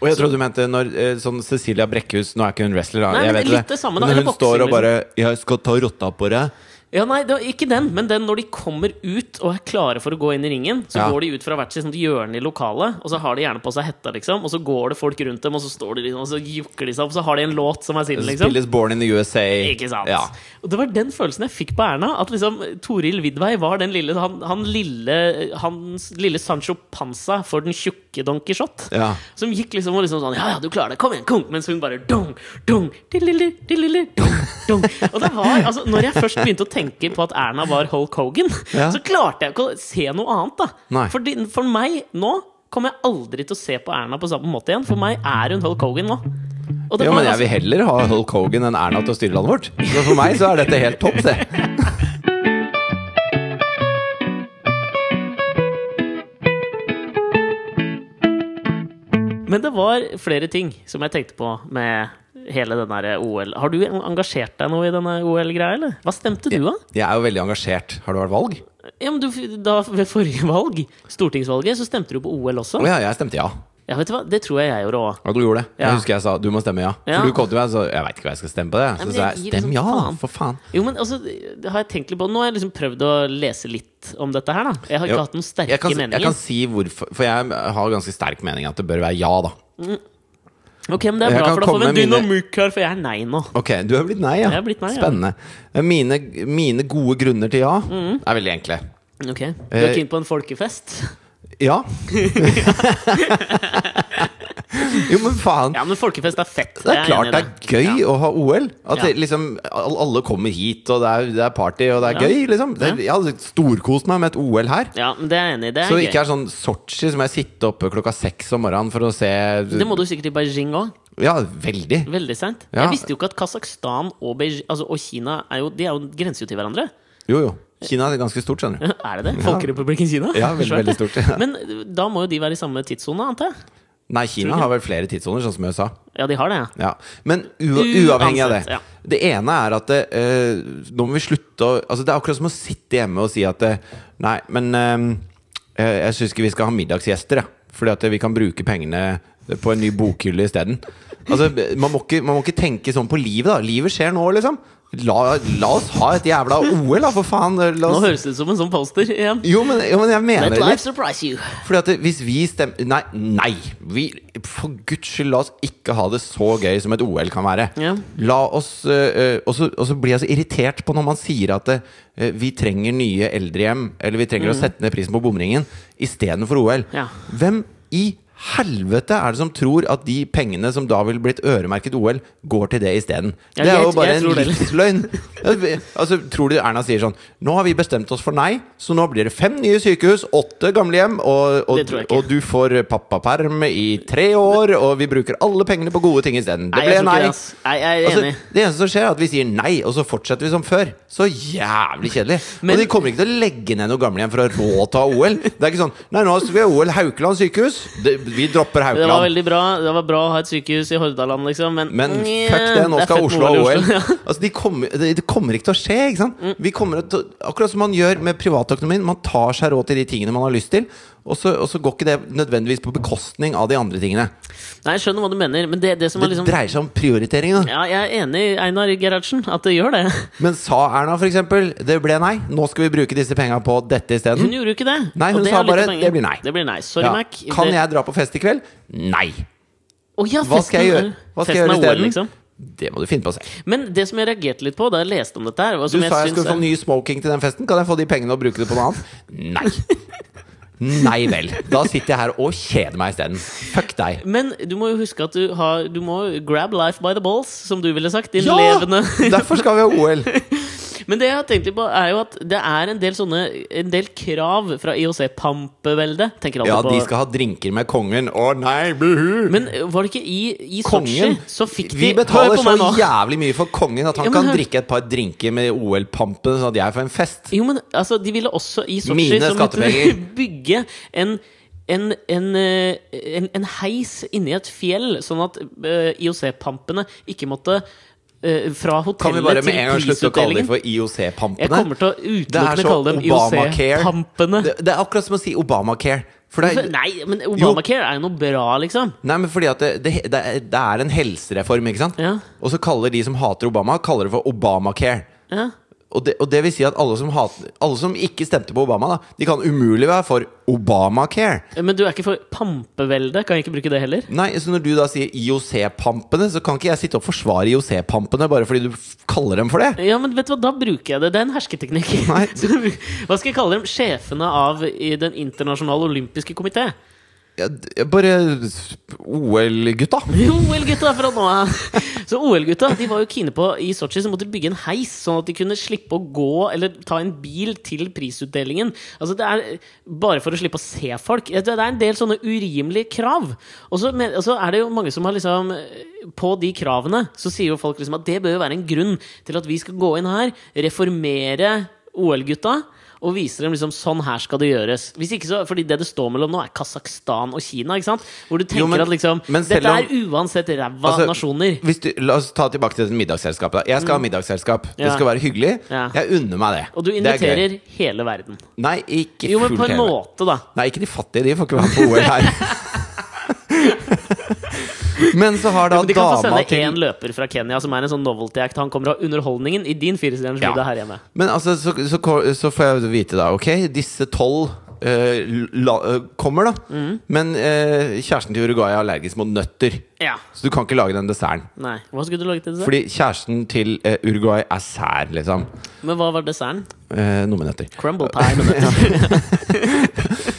Speaker 1: Og jeg trodde du mente når eh, sånn Cecilia Brekkhus Nå er ikke hun wrestler, da.
Speaker 2: Nei,
Speaker 1: jeg
Speaker 2: men
Speaker 1: vet
Speaker 2: litt det samme, da,
Speaker 1: Men
Speaker 2: eller
Speaker 1: hun
Speaker 2: boksing,
Speaker 1: står og
Speaker 2: liksom.
Speaker 1: bare 'Jeg skal ta rotta på deg'.
Speaker 2: Ja, nei, det var ikke den, men den når de kommer ut og er klare for å gå inn i ringen, så
Speaker 1: Ja.
Speaker 2: går de ut fra hvert sitt sånt hjørne i lokalet, og så har de gjerne på seg hetta, liksom, og så går det folk rundt dem, og så står de liksom, og så jukker de seg opp, så har de en låt som er sin, liksom.
Speaker 1: Spilles Born in the USA.
Speaker 2: Ikke sant?
Speaker 1: Ja.
Speaker 2: Og det var den følelsen jeg fikk på Erna, at liksom Toril Vidvei var den lille han, han lille, hans lille Sancho Panza for den tjukke Don Quijote.
Speaker 1: Ja.
Speaker 2: Som gikk liksom og liksom sånn Ja, ja, du klarer det. Kom igjen, kom! Mens hun bare dong, dong, dilili, dilili, dong, dong. Og det var Altså, når jeg først begynte å tenke på at Erna var Hulk Hogan,
Speaker 1: Ja.
Speaker 2: så klarte jeg ikke å se noe annet, da.
Speaker 1: Nei.
Speaker 2: For, for meg nå kommer jeg aldri til å se på Erna på samme måte igjen. For meg er hun Hulk Hogan nå. Og det
Speaker 1: Jo,
Speaker 2: var
Speaker 1: men jeg
Speaker 2: altså-
Speaker 1: vil heller ha Hulk Hogan enn Erna til å styre landet vårt. Så for meg så er dette helt topp, det.
Speaker 2: Men det var flere ting som jeg tenkte på med hele den der OL. Har du engasjert deg noe i denne OL-greia, eller? Hva stemte du, da?
Speaker 1: Jeg er jo veldig engasjert. Har det vært valg?
Speaker 2: Ja, men du, da ved forrige valg, stortingsvalget, så stemte du på OL også.
Speaker 1: Å ja, jeg stemte ja.
Speaker 2: Ja, vet du hva? Det tror jeg jeg gjorde òg.
Speaker 1: Og du gjorde det. Jeg
Speaker 2: Ja.
Speaker 1: husker jeg sa du må stemme ja.
Speaker 2: Ja.
Speaker 1: For du kom til meg og sa jeg veit ikke hva jeg skal stemme på. det
Speaker 2: Nei,
Speaker 1: Så
Speaker 2: men
Speaker 1: sa
Speaker 2: jeg
Speaker 1: jeg
Speaker 2: gir
Speaker 1: stem
Speaker 2: liksom
Speaker 1: ja, da,
Speaker 2: faen.
Speaker 1: for faen.
Speaker 2: Jo, men altså, det har jeg tenkt litt på. Nå har jeg liksom prøvd å lese litt om dette her, da. Jeg har
Speaker 1: Jo,
Speaker 2: ikke hatt noen sterke
Speaker 1: Jeg kan, jeg
Speaker 2: meninger.
Speaker 1: kan si hvorfor For jeg har ganske sterk mening at det bør være ja, da.
Speaker 2: Ok, men det er
Speaker 1: jeg
Speaker 2: bra,
Speaker 1: kan
Speaker 2: for da får vi
Speaker 1: komme
Speaker 2: en
Speaker 1: med mine-
Speaker 2: dynamikk her, for jeg er nei nå.
Speaker 1: Ok, du har blitt nei, ja.
Speaker 2: Jeg har blitt nei, ja.
Speaker 1: Spennende. Eh, Mine, mine gode grunner til ja
Speaker 2: Mm.
Speaker 1: er veldig enkle.
Speaker 2: Ok, Du er
Speaker 1: Eh,
Speaker 2: keen på en folkefest?
Speaker 1: Ja. [LAUGHS] jo, men faen.
Speaker 2: Ja, men folkefest er fett.
Speaker 1: Det er
Speaker 2: Jeg
Speaker 1: klart
Speaker 2: enig i
Speaker 1: det er gøy
Speaker 2: Ja.
Speaker 1: å ha OL. At
Speaker 2: Ja.
Speaker 1: det, liksom, all- alle kommer hit, og det er, det er party, og det er
Speaker 2: Ja.
Speaker 1: gøy. Liksom. Det, jeg hadde storkost meg med et OL her.
Speaker 2: Ja, men det er jeg enig i. Det er
Speaker 1: Så det
Speaker 2: gøy.
Speaker 1: ikke er sånn Sotsji som jeg sitter oppe klokka seks om morgenen for å se
Speaker 2: Det må du sikkert i Beijing òg.
Speaker 1: Ja, veldig.
Speaker 2: Veldig seint.
Speaker 1: Ja.
Speaker 2: Jeg visste jo ikke at Kasakhstan og, Beij- altså, og Kina er jo, de er jo grenser jo til hverandre. [LAUGHS]
Speaker 1: Jo, jo. Kina er ganske stort, skjønner du.
Speaker 2: Er det det? Folkerepublikken Kina?
Speaker 1: Ja, veldig,
Speaker 2: Svært, det.
Speaker 1: veldig stort, ja.
Speaker 2: Men uh, da må jo de være i samme tidssone, antar jeg?
Speaker 1: Nei, Kina har vel flere tidssoner, sånn som USA.
Speaker 2: Ja, de har det, ja.
Speaker 1: Ja. Men u uavhengig av det.
Speaker 2: Uansett, ja.
Speaker 1: Det ene er at det, eh, nå må vi slutte å altså Det er akkurat som å sitte hjemme og si at eh, Nei, men eh, eh, jeg syns ikke vi skal ha middagsgjester, jeg. Fordi at vi kan bruke pengene på en ny bokhylle isteden. Altså, man, må ikke- man må ikke tenke sånn på livet, da. Livet skjer nå, liksom. La, la oss ha et jævla OL, da, for faen. La
Speaker 2: Nå
Speaker 1: oss.
Speaker 2: høres det ut som en sånn poster igjen.
Speaker 1: Jo, men, jo, men jeg mener
Speaker 2: Let
Speaker 1: det
Speaker 2: life
Speaker 1: litt.
Speaker 2: surprise you.
Speaker 1: Fordi at det- hvis vi stemmer Nei, nei! Vi, for guds skyld, la oss ikke ha det så gøy som et OL kan være.
Speaker 2: Ja.
Speaker 1: La oss øh, øh, Og så og så blir jeg så irritert på når man sier at øh, vi trenger nye eldrehjem, eller vi trenger å sette ned prisen på bomringen istedenfor OL.
Speaker 2: Mm. Ja.
Speaker 1: Hvem i helvete er det som tror at de pengene som da ville blitt øremerket OL, går til det isteden?
Speaker 2: Ja,
Speaker 1: det er
Speaker 2: jeg-
Speaker 1: jo bare
Speaker 2: jeg
Speaker 1: en
Speaker 2: tror det.
Speaker 1: livsløgn. Ja, vi- Altså, tror du Erna sier sånn Nå har vi bestemt oss for nei, så nå blir det fem nye sykehus, åtte gamlehjem, og, og,
Speaker 2: Det tror jeg ikke.
Speaker 1: og du får pappaperm i tre år, og vi bruker alle pengene på gode ting isteden. Det
Speaker 2: Nei,
Speaker 1: ble
Speaker 2: jeg tror ikke
Speaker 1: nei.
Speaker 2: det, ass. Nei, jeg er
Speaker 1: Altså,
Speaker 2: enig.
Speaker 1: det eneste som skjer, er at vi sier nei, og så fortsetter vi som før. Så jævlig kjedelig.
Speaker 2: Men-
Speaker 1: og de kommer ikke til å legge ned noe gamlehjem for å ha råd til å ha OL. Det er ikke sånn Nei, nå skal vi ha OL Haukeland sykehus. Det, vi dropper
Speaker 2: Det var
Speaker 1: Haukeland.
Speaker 2: veldig bra Det var bra å ha et sykehus i Hordaland, liksom, men
Speaker 1: Men
Speaker 2: Nja,
Speaker 1: fuck det, nå
Speaker 2: er
Speaker 1: skal
Speaker 2: fett med
Speaker 1: Oslo ha OL.
Speaker 2: Ja. Mm.
Speaker 1: Altså, de kommer, det, det kommer ikke til å skje, ikke sant? Vi kommer til, å- akkurat som man gjør med privatøkonomien. Man tar seg råd til de tingene man har lyst til, og så, og så går ikke det nødvendigvis på bekostning av de andre tingene.
Speaker 2: [LAUGHS] Nei, jeg skjønner hva du mener, men det, det som
Speaker 1: Det
Speaker 2: var liksom
Speaker 1: dreier seg om prioritering, da.
Speaker 2: Ja, jeg er enig, Einar Gerhardsen, at det gjør det.
Speaker 1: Men sa Erna for eksempel Det ble nei, nå skal vi bruke disse pengene på dette i
Speaker 2: Hun
Speaker 1: stedet
Speaker 2: gjorde jo ikke det.
Speaker 1: Nei,
Speaker 2: og
Speaker 1: hun
Speaker 2: det
Speaker 1: sa
Speaker 2: er litt
Speaker 1: bare,
Speaker 2: av poenget.
Speaker 1: det blir nei.
Speaker 2: Det blir nei. Sorry,
Speaker 1: ja.
Speaker 2: Mac.
Speaker 1: Kan
Speaker 2: Det-
Speaker 1: jeg dra på fest i kveld? Nei
Speaker 2: Å ja,
Speaker 1: Hva skal jeg gjøre? Hva skal jeg
Speaker 2: festen
Speaker 1: gjøre
Speaker 2: er
Speaker 1: i
Speaker 2: OL,
Speaker 1: stedet?
Speaker 2: liksom.
Speaker 1: Det må du finne på selv
Speaker 2: Men det som jeg reagerte litt på da jeg leste om dette her var
Speaker 1: Du
Speaker 2: som
Speaker 1: sa jeg
Speaker 2: syns
Speaker 1: skulle få
Speaker 2: er-
Speaker 1: ny smoking til den festen Kan jeg få de pengene og bruke det på noe annet? Nei Nei vel Da sitter jeg her og kjeder meg i stedet Fuck deg
Speaker 2: Men du må jo huske at du har
Speaker 1: [LAUGHS]
Speaker 2: [LAUGHS] Du må grab life by the balls, som du ville sagt. Din
Speaker 1: Ja!
Speaker 2: levende
Speaker 1: Derfor skal vi ha OL
Speaker 2: Men det jeg har tenkt litt på, er jo at det er en del sånne En del krav fra IOC-pampeveldet. Tenker alle
Speaker 1: Ja,
Speaker 2: på
Speaker 1: de skal ha drinker med kongen. Å nei, buhu!
Speaker 2: Men var det ikke i, i Sotsji?
Speaker 1: Kongen!
Speaker 2: Så fikk de
Speaker 1: vi betaler sånn
Speaker 2: Hør på
Speaker 1: så
Speaker 2: meg nå.
Speaker 1: jævlig mye for kongen at han
Speaker 2: Ja, men
Speaker 1: kan
Speaker 2: hør-
Speaker 1: drikke et par drinker med OL-pampen, sånn at jeg får en fest.
Speaker 2: Jo, men altså, de ville også i Sotsji
Speaker 1: Mine
Speaker 2: så måtte de
Speaker 1: skattepenger.
Speaker 2: [LAUGHS] bygge en en, en, eh, en, en heis inni et fjell, sånn at eh, IOC-pampene ikke måtte eh, Fra
Speaker 1: Kan vi
Speaker 2: hotellet
Speaker 1: bare
Speaker 2: til
Speaker 1: med en gang slutte å kalle dem
Speaker 2: prisutdelingen.
Speaker 1: for
Speaker 2: Jeg
Speaker 1: IOC-pampene?
Speaker 2: kommer til å
Speaker 1: Det er
Speaker 2: utelukkende
Speaker 1: så
Speaker 2: kalle dem IOC-pampene.
Speaker 1: Obamacare. Det, det er akkurat som å si Obamacare. For det er,
Speaker 2: Nei, men Obamacare er jo noe bra, liksom.
Speaker 1: nei, men fordi at det, det, det er- det er en helsereform, ikke sant?
Speaker 2: Ja.
Speaker 1: Og så kaller de som hater Obama, kaller det for Obamacare.
Speaker 2: Ja.
Speaker 1: Og det, og det vil si at alle som, hater, alle som ikke stemte på Obama, da, de kan umulig være for Obamacare.
Speaker 2: Men du er ikke for pampevelde? Kan jeg ikke bruke det heller?
Speaker 1: Nei, så når du da sier IOC-pampene, så kan ikke jeg sitte og forsvare IOC-pampene bare fordi du f- kaller dem for det.
Speaker 2: Ja, men vet du hva, da bruker jeg det. Det er en hersketeknikk.
Speaker 1: Nei.
Speaker 2: Så, [LAUGHS] hva skal jeg kalle dem? Sjefene av i Den internasjonale olympiske komité?
Speaker 1: Ja, d- ja, bare s- OL-gutta.
Speaker 2: [LAUGHS] OL-gutta fra nå av! Så OL-gutta de var jo kine på i Sotsji, så måtte de bygge en heis, sånn at de kunne slippe å gå eller ta en bil til prisutdelingen. Altså det er Bare for å slippe å se folk. Det er en del sånne urimelige krav. Og så men- og så er det jo mange som har liksom På de kravene så sier jo folk liksom at det bør jo være en grunn til at vi skal gå inn her, reformere OL-gutta. Og viser dem liksom sånn her skal det gjøres. Hvis ikke så, fordi det det står mellom nå, er Kasakhstan og Kina. ikke sant? Hvor du tenker
Speaker 1: Jo, men-
Speaker 2: at liksom
Speaker 1: men selv
Speaker 2: Dette
Speaker 1: om-
Speaker 2: er uansett ræva
Speaker 1: Altså,
Speaker 2: nasjoner.
Speaker 1: Hvis du, la oss ta tilbake til dette middagsselskapet. da. Jeg skal ha middagsselskap. Det
Speaker 2: Mm. Ja.
Speaker 1: skal være hyggelig.
Speaker 2: Ja.
Speaker 1: Jeg unner meg det.
Speaker 2: Og du
Speaker 1: Det er gøy.
Speaker 2: inviterer hele verden.
Speaker 1: Nei, ikke
Speaker 2: Jo, men
Speaker 1: fullt
Speaker 2: på en
Speaker 1: hele.
Speaker 2: måte, da.
Speaker 1: Nei, ikke de fattige. De får ikke være på OL
Speaker 2: [LAUGHS]
Speaker 1: her. Men så har da
Speaker 2: Men de kan få
Speaker 1: dama
Speaker 2: sende én
Speaker 1: til
Speaker 2: løper fra Kenya, som er en sånn novelty act. Han kommer av underholdningen i din firestjerners
Speaker 1: Ja.
Speaker 2: middag her hjemme.
Speaker 1: Men altså, så, så, ko- så får jeg vite da Ok, disse tolv eh, la- eh, kommer, da.
Speaker 2: Mm.
Speaker 1: Men eh, kjæresten til Uruguay er allergisk mot nøtter.
Speaker 2: Ja.
Speaker 1: Så du kan ikke lage den desserten.
Speaker 2: Nei. Hva skulle du laget til dessert?
Speaker 1: Fordi kjæresten til eh, Uruguay er sær, liksom.
Speaker 2: Men hva var desserten?
Speaker 1: Eh, noe med nøtter.
Speaker 2: Crumble pie.
Speaker 1: [LAUGHS]
Speaker 2: med nøtter.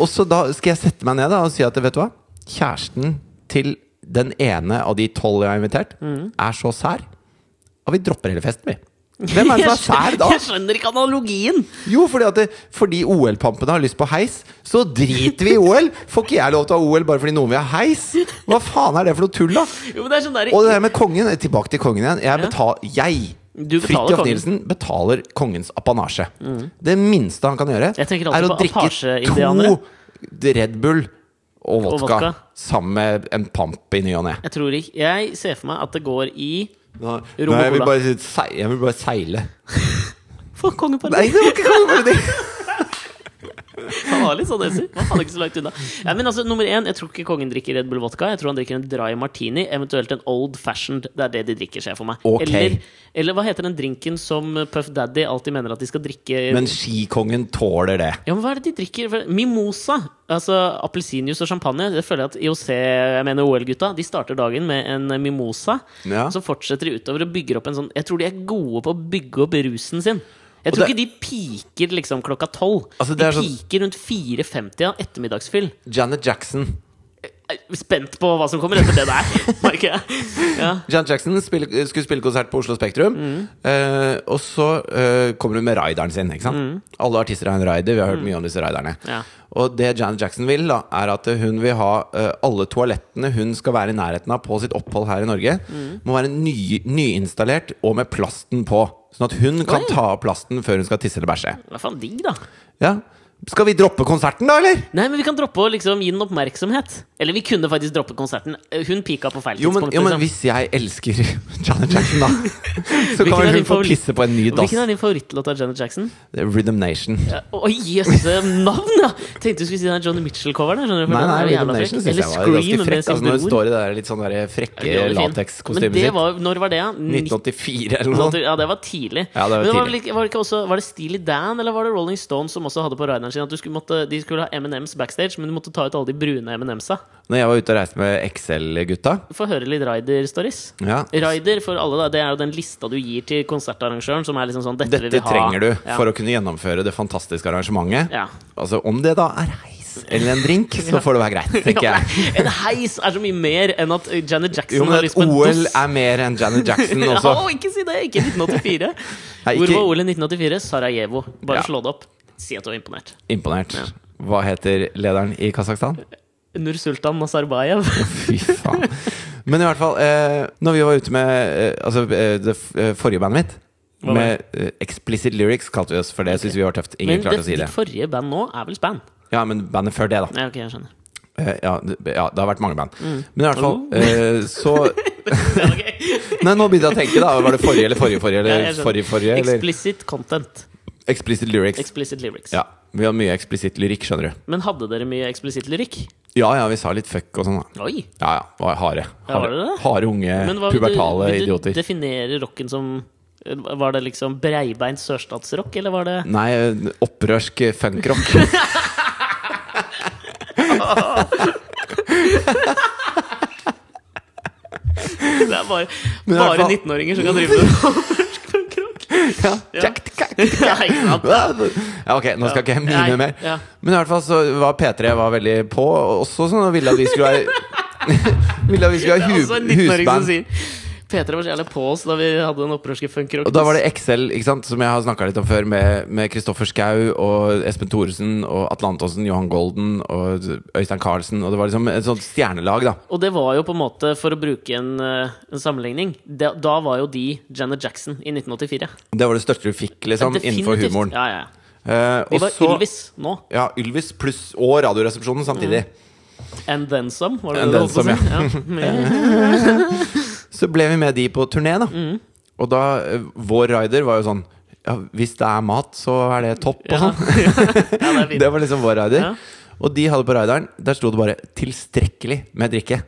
Speaker 1: Og så da skal jeg sette meg ned da og si at vet du hva? Kjæresten til den ene av de tolv jeg har invitert,
Speaker 2: Mm.
Speaker 1: er så sær at vi dropper hele festen, vi. Hvem
Speaker 2: [LAUGHS]
Speaker 1: er det som er sær da?
Speaker 2: Jeg skjønner ikke analogien!
Speaker 1: Jo, fordi, at det, fordi OL-pampene har lyst på heis, så driter vi i OL! Får ikke jeg lov til å ha OL bare fordi noen vil ha heis? Hva faen er det for noe tull, da?
Speaker 2: Jo, men det er sånn der,
Speaker 1: Og det der med kongen, tilbake til kongen igjen. Jeg, betal, jeg
Speaker 2: Du betaler
Speaker 1: Fridtjof
Speaker 2: kongen. Mm.
Speaker 1: Nielsen, betaler kongens apanasje. Det minste han kan gjøre,
Speaker 2: Jeg tenker alltid
Speaker 1: er å
Speaker 2: på
Speaker 1: drikke
Speaker 2: apasjeindianere.
Speaker 1: to Red Bull og vodka,
Speaker 2: vodka.
Speaker 1: sammen med en pamp i ny og ne.
Speaker 2: Jeg tror ikke Jeg ser for meg at det går i
Speaker 1: Nei,
Speaker 2: Rom og
Speaker 1: jeg, vil
Speaker 2: cola.
Speaker 1: bare, sei- jeg vil bare seile.
Speaker 2: Faen,
Speaker 1: Nei,
Speaker 2: kongeparet!
Speaker 1: det var ikke kongeparodi!
Speaker 2: [LAUGHS] Han var litt sånn hessig. Han var ikke så langt unna. Ja, men altså, nummer én, jeg tror ikke kongen drikker Red Bull vodka. Jeg tror han drikker en dry martini, eventuelt en old fashioned. Det er det de drikker, ser jeg for meg.
Speaker 1: Ok.
Speaker 2: Eller, eller hva heter den drinken som Puff Daddy alltid mener at de skal drikke
Speaker 1: Men skikongen tåler det.
Speaker 2: Ja, men hva er det de drikker? For- Mimosa! Altså appelsinjuice og champagne. Det føler jeg at IOC, jeg mener OL-gutta, de starter dagen med en mimosa.
Speaker 1: Ja.
Speaker 2: Og så fortsetter de utover og bygger opp en sånn Jeg tror de er gode på å bygge opp rusen sin. Jeg
Speaker 1: Og
Speaker 2: tror
Speaker 1: det-
Speaker 2: ikke de piker liksom klokka tolv.
Speaker 1: Altså, det
Speaker 2: de
Speaker 1: er sånn-
Speaker 2: piker rundt 4.50 av ettermiddagsfyll.
Speaker 1: Janet Jackson.
Speaker 2: Jeg er Spent på hva som kommer etter det der, [LAUGHS] merker jeg. Ja.
Speaker 1: Janet Jackson spille, skulle spille konsert på Oslo Spektrum.
Speaker 2: Mm.
Speaker 1: eh, og så eh, kommer hun med rideren sin. Ikke sant? Alle artister har en rider. Vi har hørt mye om disse riderne.
Speaker 2: Mm. Ja.
Speaker 1: Og det Janet Jackson vil, da er at hun vil ha eh, alle toalettene hun skal være i nærheten av på sitt opphold her i Norge,
Speaker 2: Mm.
Speaker 1: må være ny, nyinstallert og med plasten på. Sånn at hun kan
Speaker 2: Oi.
Speaker 1: ta av plasten før hun skal tisse eller bæsje.
Speaker 2: Hva faen digg, da?
Speaker 1: Ja. Skal vi droppe konserten, da, eller?
Speaker 2: Nei, men Vi kan droppe å liksom gi den oppmerksomhet. Eller vi kunne faktisk droppe konserten. Hun pika på feil
Speaker 1: Jo, men,
Speaker 2: tidspunkt.
Speaker 1: jo, men
Speaker 2: liksom.
Speaker 1: hvis jeg elsker [LAUGHS] Janet
Speaker 2: [LAUGHS]
Speaker 1: Jackson, da, så kan
Speaker 2: Hvilken
Speaker 1: vel
Speaker 2: er
Speaker 1: hun
Speaker 2: din
Speaker 1: få
Speaker 2: favoritt-
Speaker 1: pisse på en ny dass.
Speaker 2: Hvilken er din favorittlåt av Janet Jackson?
Speaker 1: Rhythm Nation.
Speaker 2: Ja, Oi, jøss, navn, ja! Tenkte du skulle si den Johnny Mitchell-coveren. skjønner du, for
Speaker 1: Nei,
Speaker 2: den er
Speaker 1: nei,
Speaker 2: jo
Speaker 1: Rhythm
Speaker 2: jævla frekk.
Speaker 1: Nation synes
Speaker 2: Eller
Speaker 1: jeg var ganske
Speaker 2: Scream
Speaker 1: frekk.
Speaker 2: med sin
Speaker 1: Altså, når hun
Speaker 2: bror.
Speaker 1: står i det der litt sånn der
Speaker 2: Det
Speaker 1: frekke
Speaker 2: var fin. Men
Speaker 1: latekskostymet
Speaker 2: det
Speaker 1: sitt.
Speaker 2: var, når var det? ja?
Speaker 1: 1984 eller noe sånt.
Speaker 2: Ja, det var tidlig.
Speaker 1: sånn. Ja, det var
Speaker 2: Men
Speaker 1: tidlig.
Speaker 2: var, vel ikke, var, det ikke også, var det Steely Dan eller var det Rolling Stones som også hadde på rideren sin at du skulle måtte, de skulle ha M&M's backstage, men du måtte ta ut alle de brune M&M's-a?
Speaker 1: Når jeg var ute og reiste med XL-gutta
Speaker 2: Få høre litt Rider-stories.
Speaker 1: ja.
Speaker 2: Rider for alle, da, det er jo den lista du gir til konsertarrangøren, som er liksom sånn Dette, vil
Speaker 1: Dette
Speaker 2: vi ha.
Speaker 1: trenger du
Speaker 2: ja.
Speaker 1: for å kunne gjennomføre det fantastiske arrangementet.
Speaker 2: Ja.
Speaker 1: Altså, om det da er heis eller en drink, så får det være greit, tenker
Speaker 2: [LAUGHS] Ja,
Speaker 1: jeg.
Speaker 2: En heis er så mye mer enn at Janet Jackson
Speaker 1: Jo, men
Speaker 2: har
Speaker 1: et
Speaker 2: lyst på en
Speaker 1: OL
Speaker 2: dass.
Speaker 1: er mer enn Janet Jackson
Speaker 2: [LAUGHS] Ja,
Speaker 1: også.
Speaker 2: å, ikke si det! Ikke 1984.
Speaker 1: Nei,
Speaker 2: Hvor
Speaker 1: ikke-
Speaker 2: var OL i 1984? Sarajevo. Bare
Speaker 1: Ja.
Speaker 2: slå det opp. Si at du er imponert.
Speaker 1: Imponert. Hva heter lederen i Kasakhstan?
Speaker 2: Nursultan Nazarbayev.
Speaker 1: Fy faen. Men i hvert fall, eh, når vi var ute med eh, altså, eh, det f- eh, forrige bandet mitt
Speaker 2: Hva
Speaker 1: med eh, explicit lyrics, kalte vi oss, for det syntes vi var tøft. Ingen
Speaker 2: [LAUGHS] Men det,
Speaker 1: klarte å si det.
Speaker 2: ditt forrige band nå er vel Span?
Speaker 1: Ja, men bandet før det, da.
Speaker 2: Ja, ok, jeg skjønner.
Speaker 1: Eh, ja, det, ja, det har vært mange band. Men i hvert fall,
Speaker 2: Oh.
Speaker 1: eh, så
Speaker 2: [LAUGHS] Ja, ok.
Speaker 1: Nei, nå begynte jeg å tenke, da. Var det forrige eller forrige forrige?
Speaker 2: Ja,
Speaker 1: Eller
Speaker 2: jeg skjønner.
Speaker 1: forrige forrige? Eller
Speaker 2: Explicit content.
Speaker 1: explicit lyrics.
Speaker 2: Explicit lyrics.
Speaker 1: Ja. Vi har mye explicit lyrikk, skjønner du.
Speaker 2: Men hadde dere mye eksplisitt lyrikk?
Speaker 1: Ja ja, vi sa litt fuck og sånn, da.
Speaker 2: Oi!
Speaker 1: Ja ja. Var harde.
Speaker 2: Ja, var det
Speaker 1: Harde,
Speaker 2: det?
Speaker 1: harde unge,
Speaker 2: Men hva vil du-
Speaker 1: pubertale
Speaker 2: vil du
Speaker 1: idioter.
Speaker 2: Definere rocken som Var det liksom breibeint sørstatsrock, eller var
Speaker 1: [LAUGHS]
Speaker 2: det
Speaker 1: Nei, eh, opprørsk eh, funkrock.
Speaker 2: Det er bare,
Speaker 1: Men i hvert
Speaker 2: bare
Speaker 1: fall-
Speaker 2: 19-åringer som kan drive med
Speaker 1: [LAUGHS]
Speaker 2: norsk punkrock?
Speaker 1: ja.
Speaker 2: Ja.
Speaker 1: [LAUGHS] Jack, jack.
Speaker 2: [LAUGHS] Ja, ikke sant?
Speaker 1: Ja, ok, nå skal ikke jeg mime
Speaker 2: Nei,
Speaker 1: mer.
Speaker 2: ja.
Speaker 1: Men i hvert fall så var P3 var veldig på, og også sånn og ville at vi skulle være [LAUGHS] Ville at vi skulle
Speaker 2: Det er
Speaker 1: ha
Speaker 2: altså en
Speaker 1: hu
Speaker 2: 19-åring som
Speaker 1: husband.
Speaker 2: sier P3 var så jævlig på oss da vi hadde den opprørske funkrock.
Speaker 1: Og da var det XL, ikke sant, som jeg har snakka litt om før, med med Kristoffer Schau og Espen Thoresen og Atle Antonsen, Johan Golden og Øystein Carlsen, og det var liksom et sånt stjernelag, da.
Speaker 2: Og det var jo på en måte, for å bruke en, eh, en sammenligning da, da var jo de Janet Jackson i 1984.
Speaker 1: Det var det største du fikk, liksom, innenfor
Speaker 2: Definitivt.
Speaker 1: humoren.
Speaker 2: Ja, ja. ja.
Speaker 1: Eh,
Speaker 2: De
Speaker 1: og
Speaker 2: var
Speaker 1: så
Speaker 2: Ylvis Mm. nå.
Speaker 1: Ja, Ylvis pluss og Radioresepsjonen samtidig.
Speaker 2: And then some, var det
Speaker 1: And
Speaker 2: det
Speaker 1: then
Speaker 2: du holdt på å
Speaker 1: some,
Speaker 2: si?
Speaker 1: [LAUGHS]
Speaker 2: Ja.
Speaker 1: Så ble vi med de på turné, da.
Speaker 2: Mm.
Speaker 1: Og da eh, Vår rider var jo sånn ja, Hvis det er mat, så er det topp, og
Speaker 2: [LAUGHS] Ja.
Speaker 1: sånn.
Speaker 2: Ja, det er
Speaker 1: [LAUGHS]
Speaker 2: fint.
Speaker 1: Det var liksom vår rider.
Speaker 2: Ja.
Speaker 1: Og de hadde på rideren, der sto det bare 'tilstrekkelig med drikke'.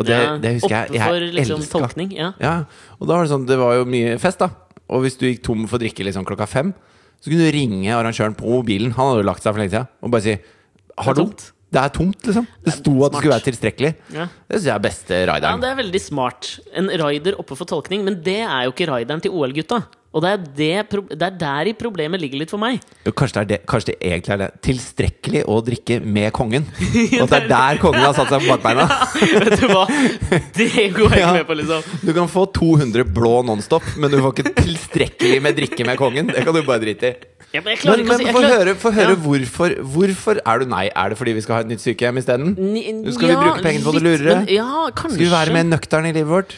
Speaker 1: Og det,
Speaker 2: Ja,
Speaker 1: det husker jeg.
Speaker 2: Oppe for
Speaker 1: Jeg
Speaker 2: liksom
Speaker 1: elska.
Speaker 2: tolkning. Ja.
Speaker 1: Ja. Og da var det sånn, det var jo mye fest, da. Og hvis du gikk tom for drikke liksom klokka fem, så kunne du ringe arrangøren på mobilen, han hadde jo lagt seg for lenge siden, og bare si 'hallo,
Speaker 2: tomt.»
Speaker 1: det er tomt', liksom. Det sto at det skulle være tilstrekkelig.
Speaker 2: Ja.
Speaker 1: Det syns jeg er beste
Speaker 2: ja,
Speaker 1: rideren.
Speaker 2: det er veldig smart. En rider oppe for tolkning, men det er jo ikke rideren til OL-gutta. Og det er, det, pro- det er der i problemet ligger litt for meg.
Speaker 1: Jo, Kanskje det, er det, kanskje det egentlig er det. Tilstrekkelig å drikke med
Speaker 2: [LAUGHS]
Speaker 1: kongen. Og at det er der kongen har satt seg på bakbeina.
Speaker 2: Vet du hva? Det går jeg
Speaker 1: Ja.
Speaker 2: ikke med på, liksom.
Speaker 1: Du kan få 200 blå nonstop, men du får ikke tilstrekkelig med drikke med kongen. Det kan du bare drite i.
Speaker 2: Ja, men jeg klarer
Speaker 1: Men,
Speaker 2: ikke å si
Speaker 1: men
Speaker 2: jeg
Speaker 1: få
Speaker 2: klarer-
Speaker 1: høre, få høre
Speaker 2: Ja.
Speaker 1: hvorfor, hvorfor er du nei? Er det fordi vi skal ha et nytt sykehjem isteden?
Speaker 2: Ni-
Speaker 1: Skal vi bruke pengene på det
Speaker 2: litt,
Speaker 1: lurere?
Speaker 2: men- Ja, kanskje.
Speaker 1: Skal vi være mer nøkterne i livet vårt?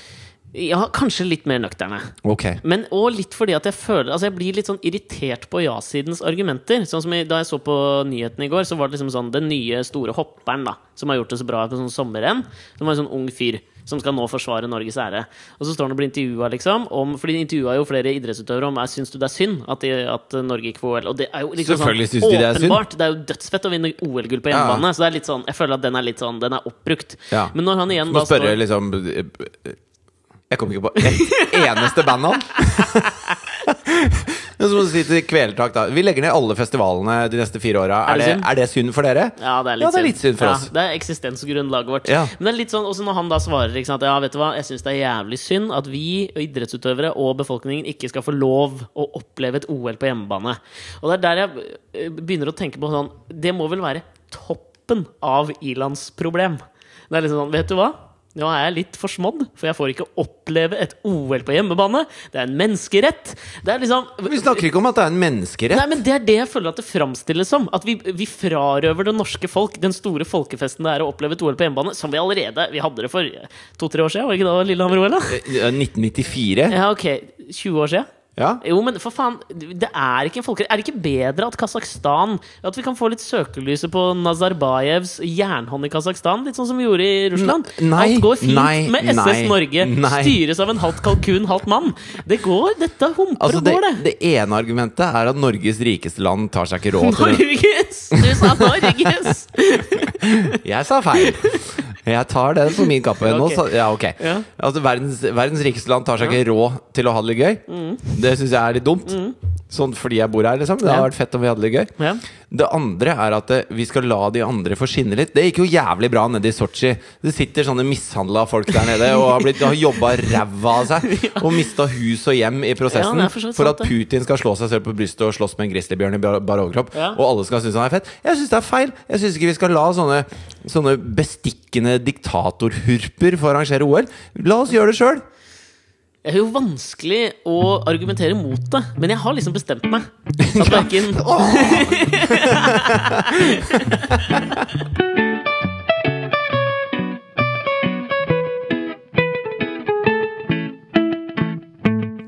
Speaker 2: Ja, kanskje litt mer nøkterne.
Speaker 1: Ok.
Speaker 2: Men òg litt fordi at jeg føler Altså jeg blir litt sånn irritert på ja-sidens argumenter. Sånn som jeg, Da jeg så på nyhetene i går, så var det liksom sånn Den nye store hopperen da som har gjort det så bra på sånn sommerrenn. Som var en sånn ung fyr som skal nå forsvare Norges ære. Og så står han og blir intervjua, liksom. Om, fordi de intervjua jo flere idrettsutøvere om er, Syns du det er synd at, de, at Norge ikke får OL. Og det er jo liksom
Speaker 1: Selvfølgelig
Speaker 2: sånn
Speaker 1: syns de det er synd.
Speaker 2: åpenbart. Det er jo dødsfett å vinne OL-gull på
Speaker 1: Ja.
Speaker 2: hjemmebane. Så det er litt sånn, jeg føler at den er litt sånn Den er oppbrukt.
Speaker 1: Ja.
Speaker 2: Men når han igjen
Speaker 1: Må
Speaker 2: da
Speaker 1: spørre
Speaker 2: står
Speaker 1: liksom Jeg kom ikke på et eneste
Speaker 2: [LAUGHS]
Speaker 1: bandnavn. Men så må du si til Kvelertak, da. Vi legger ned alle festivalene de neste fire åra. Er,
Speaker 2: Er det
Speaker 1: det-
Speaker 2: synd?
Speaker 1: er det synd for dere?
Speaker 2: Ja, det er litt,
Speaker 1: Ja, det er litt synd for
Speaker 2: ja,
Speaker 1: oss.
Speaker 2: Det er eksistensgrunnlaget vårt.
Speaker 1: Ja.
Speaker 2: Men det er litt sånn, også når han da svarer ikke sant? Ja, vet du hva, jeg syns det er jævlig synd at vi og idrettsutøvere og befolkningen ikke skal få lov å oppleve et OL på hjemmebane. Og det er der jeg eh, begynner å tenke på sånn Det må vel være toppen av Ilans problem. Det er liksom sånn, vet du hva? Nå er jeg litt forsmådd, for jeg får ikke oppleve et OL på hjemmebane. Det er en menneskerett. Det er liksom
Speaker 1: Vi snakker ikke om at det er en menneskerett.
Speaker 2: Nei, men Det er det jeg føler at det framstilles som. At vi, vi frarøver det norske folk den store folkefesten det er å oppleve et OL på hjemmebane, som vi allerede Vi hadde det for eh, to-tre år siden, var det ikke da Lillehammer-OL? da?
Speaker 1: Eh, 1994.
Speaker 2: Ja, ok. 20 år siden?
Speaker 1: Ja.
Speaker 2: Jo, men for faen, det er ikke en folkerett. Er det ikke bedre at Kasakhstan At vi kan få litt søkelyset på Nazarbayevs jernhånd i Kasakhstan? Litt sånn som vi gjorde i Russland?
Speaker 1: N- nei,
Speaker 2: Alt går fint
Speaker 1: nei,
Speaker 2: med SS
Speaker 1: nei,
Speaker 2: Norge.
Speaker 1: nei.
Speaker 2: Styres av en halvt kalkun, halvt mann. Det går. Dette humper
Speaker 1: Altså,
Speaker 2: og
Speaker 1: det,
Speaker 2: går, det.
Speaker 1: det ene argumentet er at Norges rikeste land tar seg ikke
Speaker 2: [LAUGHS]
Speaker 1: råd til Altså, det.
Speaker 2: Norges! Du sa Norges!
Speaker 1: Jeg sa feil. Jeg tar den på min kappe. Nå
Speaker 2: Ok.
Speaker 1: sa, ja, ok.
Speaker 2: Ja.
Speaker 1: Altså, verdens, verdens rikeste land tar seg ikke råd til å ha det litt gøy. Det syns jeg er litt dumt. Sånn fordi jeg bor her, liksom. Det hadde
Speaker 2: Mm. Ja.
Speaker 1: vært fett om vi hadde det litt gøy.
Speaker 2: Ja.
Speaker 1: Det andre er at eh, vi skal la de andre få skinne litt. Det gikk jo jævlig bra nede i Sotsji. Det sitter sånne mishandla folk der nede og har, blitt- har jobba ræva av
Speaker 2: [LAUGHS]
Speaker 1: seg. Og mista hus og hjem i
Speaker 2: Ja,
Speaker 1: prosessen
Speaker 2: det er for så vidt
Speaker 1: for
Speaker 2: sant,
Speaker 1: at
Speaker 2: det.
Speaker 1: Putin skal slå seg selv på brystet og slåss med en grizzlybjørn i bar bar overkropp.
Speaker 2: Ja.
Speaker 1: Og alle skal synes han er fett. Jeg syns det er feil. Jeg syns ikke vi skal la sånne, sånne bestikkende diktatorhurper få arrangere OL. La oss gjøre det sjøl.
Speaker 2: Det er jo vanskelig å argumentere mot det, men jeg har liksom bestemt meg. At verken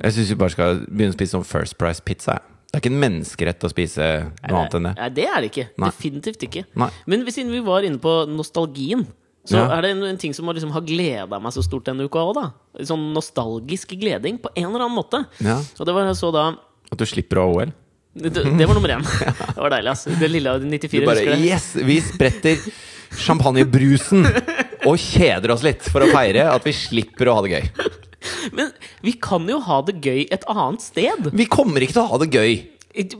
Speaker 1: Jeg syns vi bare skal begynne å spise sånn First Price pizza. jeg. Det er ikke en menneskerett å spise noe annet enn det.
Speaker 2: Nei, det er det ikke.
Speaker 1: Nei.
Speaker 2: Definitivt ikke.
Speaker 1: Nei.
Speaker 2: Men hvis- siden vi var inne på nostalgien, så
Speaker 1: Ja.
Speaker 2: er det en, en ting som har liksom har gleda meg så stort denne uka òg, da. Sånn nostalgisk gleding på en eller annen måte.
Speaker 1: Ja.
Speaker 2: Og det var så da
Speaker 1: At du slipper å ha OL.
Speaker 2: Det, det var nummer
Speaker 1: [LAUGHS]
Speaker 2: én. [LAUGHS] Det var deilig, ass. Det lille av de 94.
Speaker 1: Du bare
Speaker 2: husker du det?
Speaker 1: Yes! Vi spretter champagnebrusen og kjeder oss litt for å feire at vi slipper å ha det gøy.
Speaker 2: Men vi kan jo ha det gøy et annet sted.
Speaker 1: Vi kommer ikke til å ha det gøy.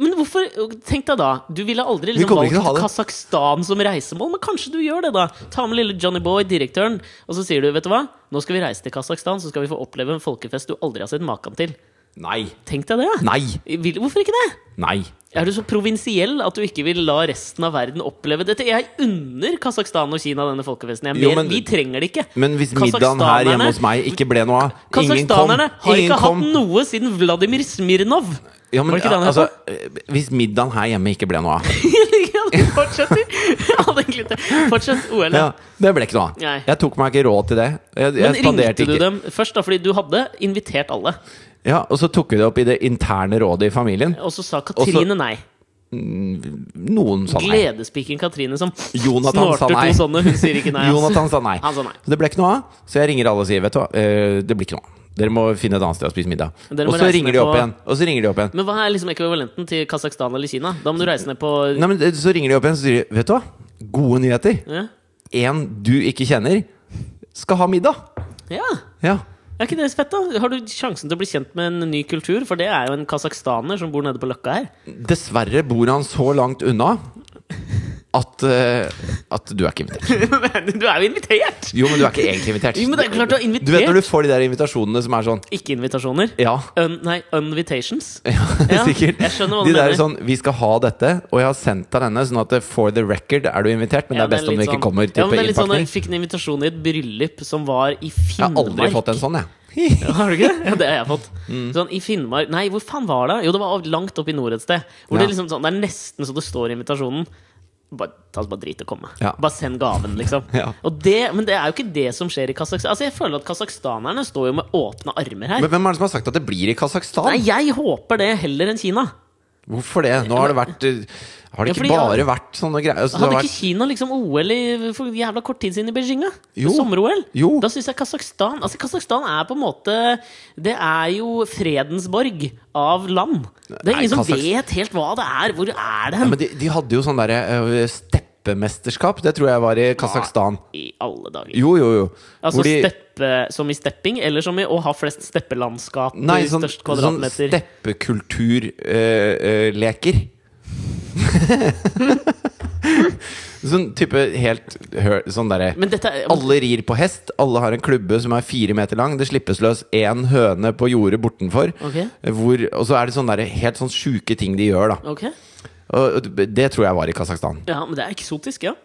Speaker 2: Men hvorfor Tenk deg da. Du ville aldri
Speaker 1: Vi
Speaker 2: liksom
Speaker 1: kommer ikke til å
Speaker 2: valgt
Speaker 1: ha det.
Speaker 2: Kasakhstan som reisemål, men kanskje du gjør det, da. Ta med lille Johnny Boy, direktøren, og så sier du, vet du hva, nå skal vi reise til Kasakhstan, så skal vi få oppleve en folkefest du aldri har sett maken til.
Speaker 1: Nei.
Speaker 2: Tenk deg det, da.
Speaker 1: Nei.
Speaker 2: Vil, hvorfor ikke det?
Speaker 1: Nei.
Speaker 2: Er du så provinsiell at du ikke vil la resten av verden oppleve dette? Jeg unner Kasakhstan og Kina denne folkefesten. Jeg er
Speaker 1: Jo,
Speaker 2: mer,
Speaker 1: men-
Speaker 2: vi trenger det ikke.
Speaker 1: Men hvis middagen her hjemme hos meg ikke ble noe av Ingen kom.
Speaker 2: Kasakhstanerne har
Speaker 1: Ingen
Speaker 2: ikke
Speaker 1: kom.
Speaker 2: hatt noe siden Vladimir Smirnov. [LAUGHS]
Speaker 1: Ja, men,
Speaker 2: Var det ikke det han het?
Speaker 1: altså, eh, hvis middagen her hjemme ikke ble noe av
Speaker 2: Altså,
Speaker 1: [LAUGHS]
Speaker 2: fortsetter. Jeg hadde egentlig ikke- Fortsett E. OL.
Speaker 1: ja, Det ble ikke noe av.
Speaker 2: Nei.
Speaker 1: Jeg tok meg ikke råd til det. Jeg,
Speaker 2: Men
Speaker 1: jeg spanderte
Speaker 2: ringte du
Speaker 1: ikke.
Speaker 2: dem først, da? Fordi du hadde invitert alle.
Speaker 1: Ja, Og så tok vi det opp i det interne rådet i familien.
Speaker 2: Og så sa Katrine nei.
Speaker 1: Noen sa nei.
Speaker 2: Gledespiken Katrine som
Speaker 1: Jonathan sa
Speaker 2: snorter
Speaker 1: nei.
Speaker 2: to sånne. Hun sier ikke nei. ass.
Speaker 1: Jonathan sa nei.
Speaker 2: Han sa nei.
Speaker 1: Så det ble ikke noe av. Så jeg ringer alle og sier vet du hva, eh, det blir ikke noe av. Dere må finne et annet sted å spise middag.
Speaker 2: Dere må
Speaker 1: Og så
Speaker 2: reise
Speaker 1: ringer
Speaker 2: ned
Speaker 1: de opp
Speaker 2: på-
Speaker 1: igjen. Og så ringer de opp igjen.
Speaker 2: Men hva er liksom ekvivalenten til Kasakhstan eller Kina? Da må du reise ned på
Speaker 1: Nei, men eh, Så ringer de opp igjen så sier de vet du hva, gode nyheter.
Speaker 2: Ja.
Speaker 1: En du ikke kjenner, skal ha middag.
Speaker 2: ja.
Speaker 1: Ja.
Speaker 2: Er ikke det fett, da? Har du sjansen til å bli kjent med en ny kultur? For det er jo en kasakhstaner som bor nede på Løkka her. [LAUGHS]
Speaker 1: Dessverre bor han så langt unna at, eh, at du er ikke invitert.
Speaker 2: Men du er jo invitert!
Speaker 1: Jo, men du er ikke egentlig invitert.
Speaker 2: Jo, men det er klart du er invitert.
Speaker 1: Du vet når du får de der invitasjonene som er sånn
Speaker 2: [LAUGHS] Ikke invitasjoner.
Speaker 1: Ja,
Speaker 2: Un, nei, unvitations.
Speaker 1: [LAUGHS] ja sikkert.
Speaker 2: jeg skjønner hva du
Speaker 1: de der
Speaker 2: mener.
Speaker 1: sånn Vi skal ha dette, og jeg har sendt deg denne, sånn at eh, for the record er du invitert, men det
Speaker 2: Ja,
Speaker 1: er best om
Speaker 2: litt
Speaker 1: du ikke
Speaker 2: sånn-
Speaker 1: kommer
Speaker 2: ja,
Speaker 1: til
Speaker 2: men det er litt sånn,
Speaker 1: innpakning.
Speaker 2: Jeg fikk en invitasjon i et bryllup som var i Finnmark.
Speaker 1: Jeg har aldri fått en sånn, jeg.
Speaker 2: Har du ikke? det? [LAUGHS] Ja, det har jeg fått.
Speaker 1: Mm.
Speaker 2: Sånn i Finnmark Nei, hvor faen var det? Jo, det var langt opp i nord et sted. Hvor
Speaker 1: Ja.
Speaker 2: det liksom sånn Det er nesten så det står i invitasjonen. Bare, ta oss bare drit og komme.
Speaker 1: Ja.
Speaker 2: Bare send gaven, liksom.
Speaker 1: [LAUGHS] Ja.
Speaker 2: Og det, men det er jo ikke det som skjer i Kasakhstan. Altså, jeg føler at kasakhstanerne står jo med åpne armer her.
Speaker 1: Men hvem er det som har sagt at det blir i Kasakhstan?
Speaker 2: Nei, jeg håper det heller enn Kina.
Speaker 1: Hvorfor det? Nå har det vært eh, Har det
Speaker 2: Ja,
Speaker 1: ikke
Speaker 2: fordi jeg-
Speaker 1: bare vært sånne greier? Altså, det
Speaker 2: Hadde
Speaker 1: har
Speaker 2: ikke
Speaker 1: vært,
Speaker 2: Kina liksom OL i, for jævla kort tid siden i Beijing? da?
Speaker 1: Jo.
Speaker 2: Sommer-OL?
Speaker 1: Jo.
Speaker 2: Da syns jeg Kasakhstan Altså, Kasakhstan er på en måte Det er jo fredensborg av land. Det er
Speaker 1: Nei,
Speaker 2: ingen som
Speaker 1: Kasakhs-
Speaker 2: vet helt hva det er. Hvor er det
Speaker 1: ja,
Speaker 2: hen?
Speaker 1: men de, de hadde jo sånn derre eh, steppemesterskap. Det tror jeg var i Kasakhstan.
Speaker 2: I alle dager.
Speaker 1: Jo, jo, jo.
Speaker 2: Altså
Speaker 1: Hvor de-
Speaker 2: steppe som i stepping, eller som i å ha flest steppelandskap
Speaker 1: Nei,
Speaker 2: i
Speaker 1: sånn,
Speaker 2: størst
Speaker 1: sånn eh,
Speaker 2: kvadratmeter?
Speaker 1: steppekulturleker. [LAUGHS] sånn type helt hør, Sånn derre
Speaker 2: men dette er
Speaker 1: alle rir på hest, alle har en klubbe som er fire meter lang. Det slippes løs én høne på jordet bortenfor.
Speaker 2: Ok.
Speaker 1: Hvor, og så er det sånn derre helt sånn sjuke ting de gjør, da.
Speaker 2: Ok.
Speaker 1: Og og det tror jeg var i Kasakhstan.
Speaker 2: Ja, men det er eksotisk, ja.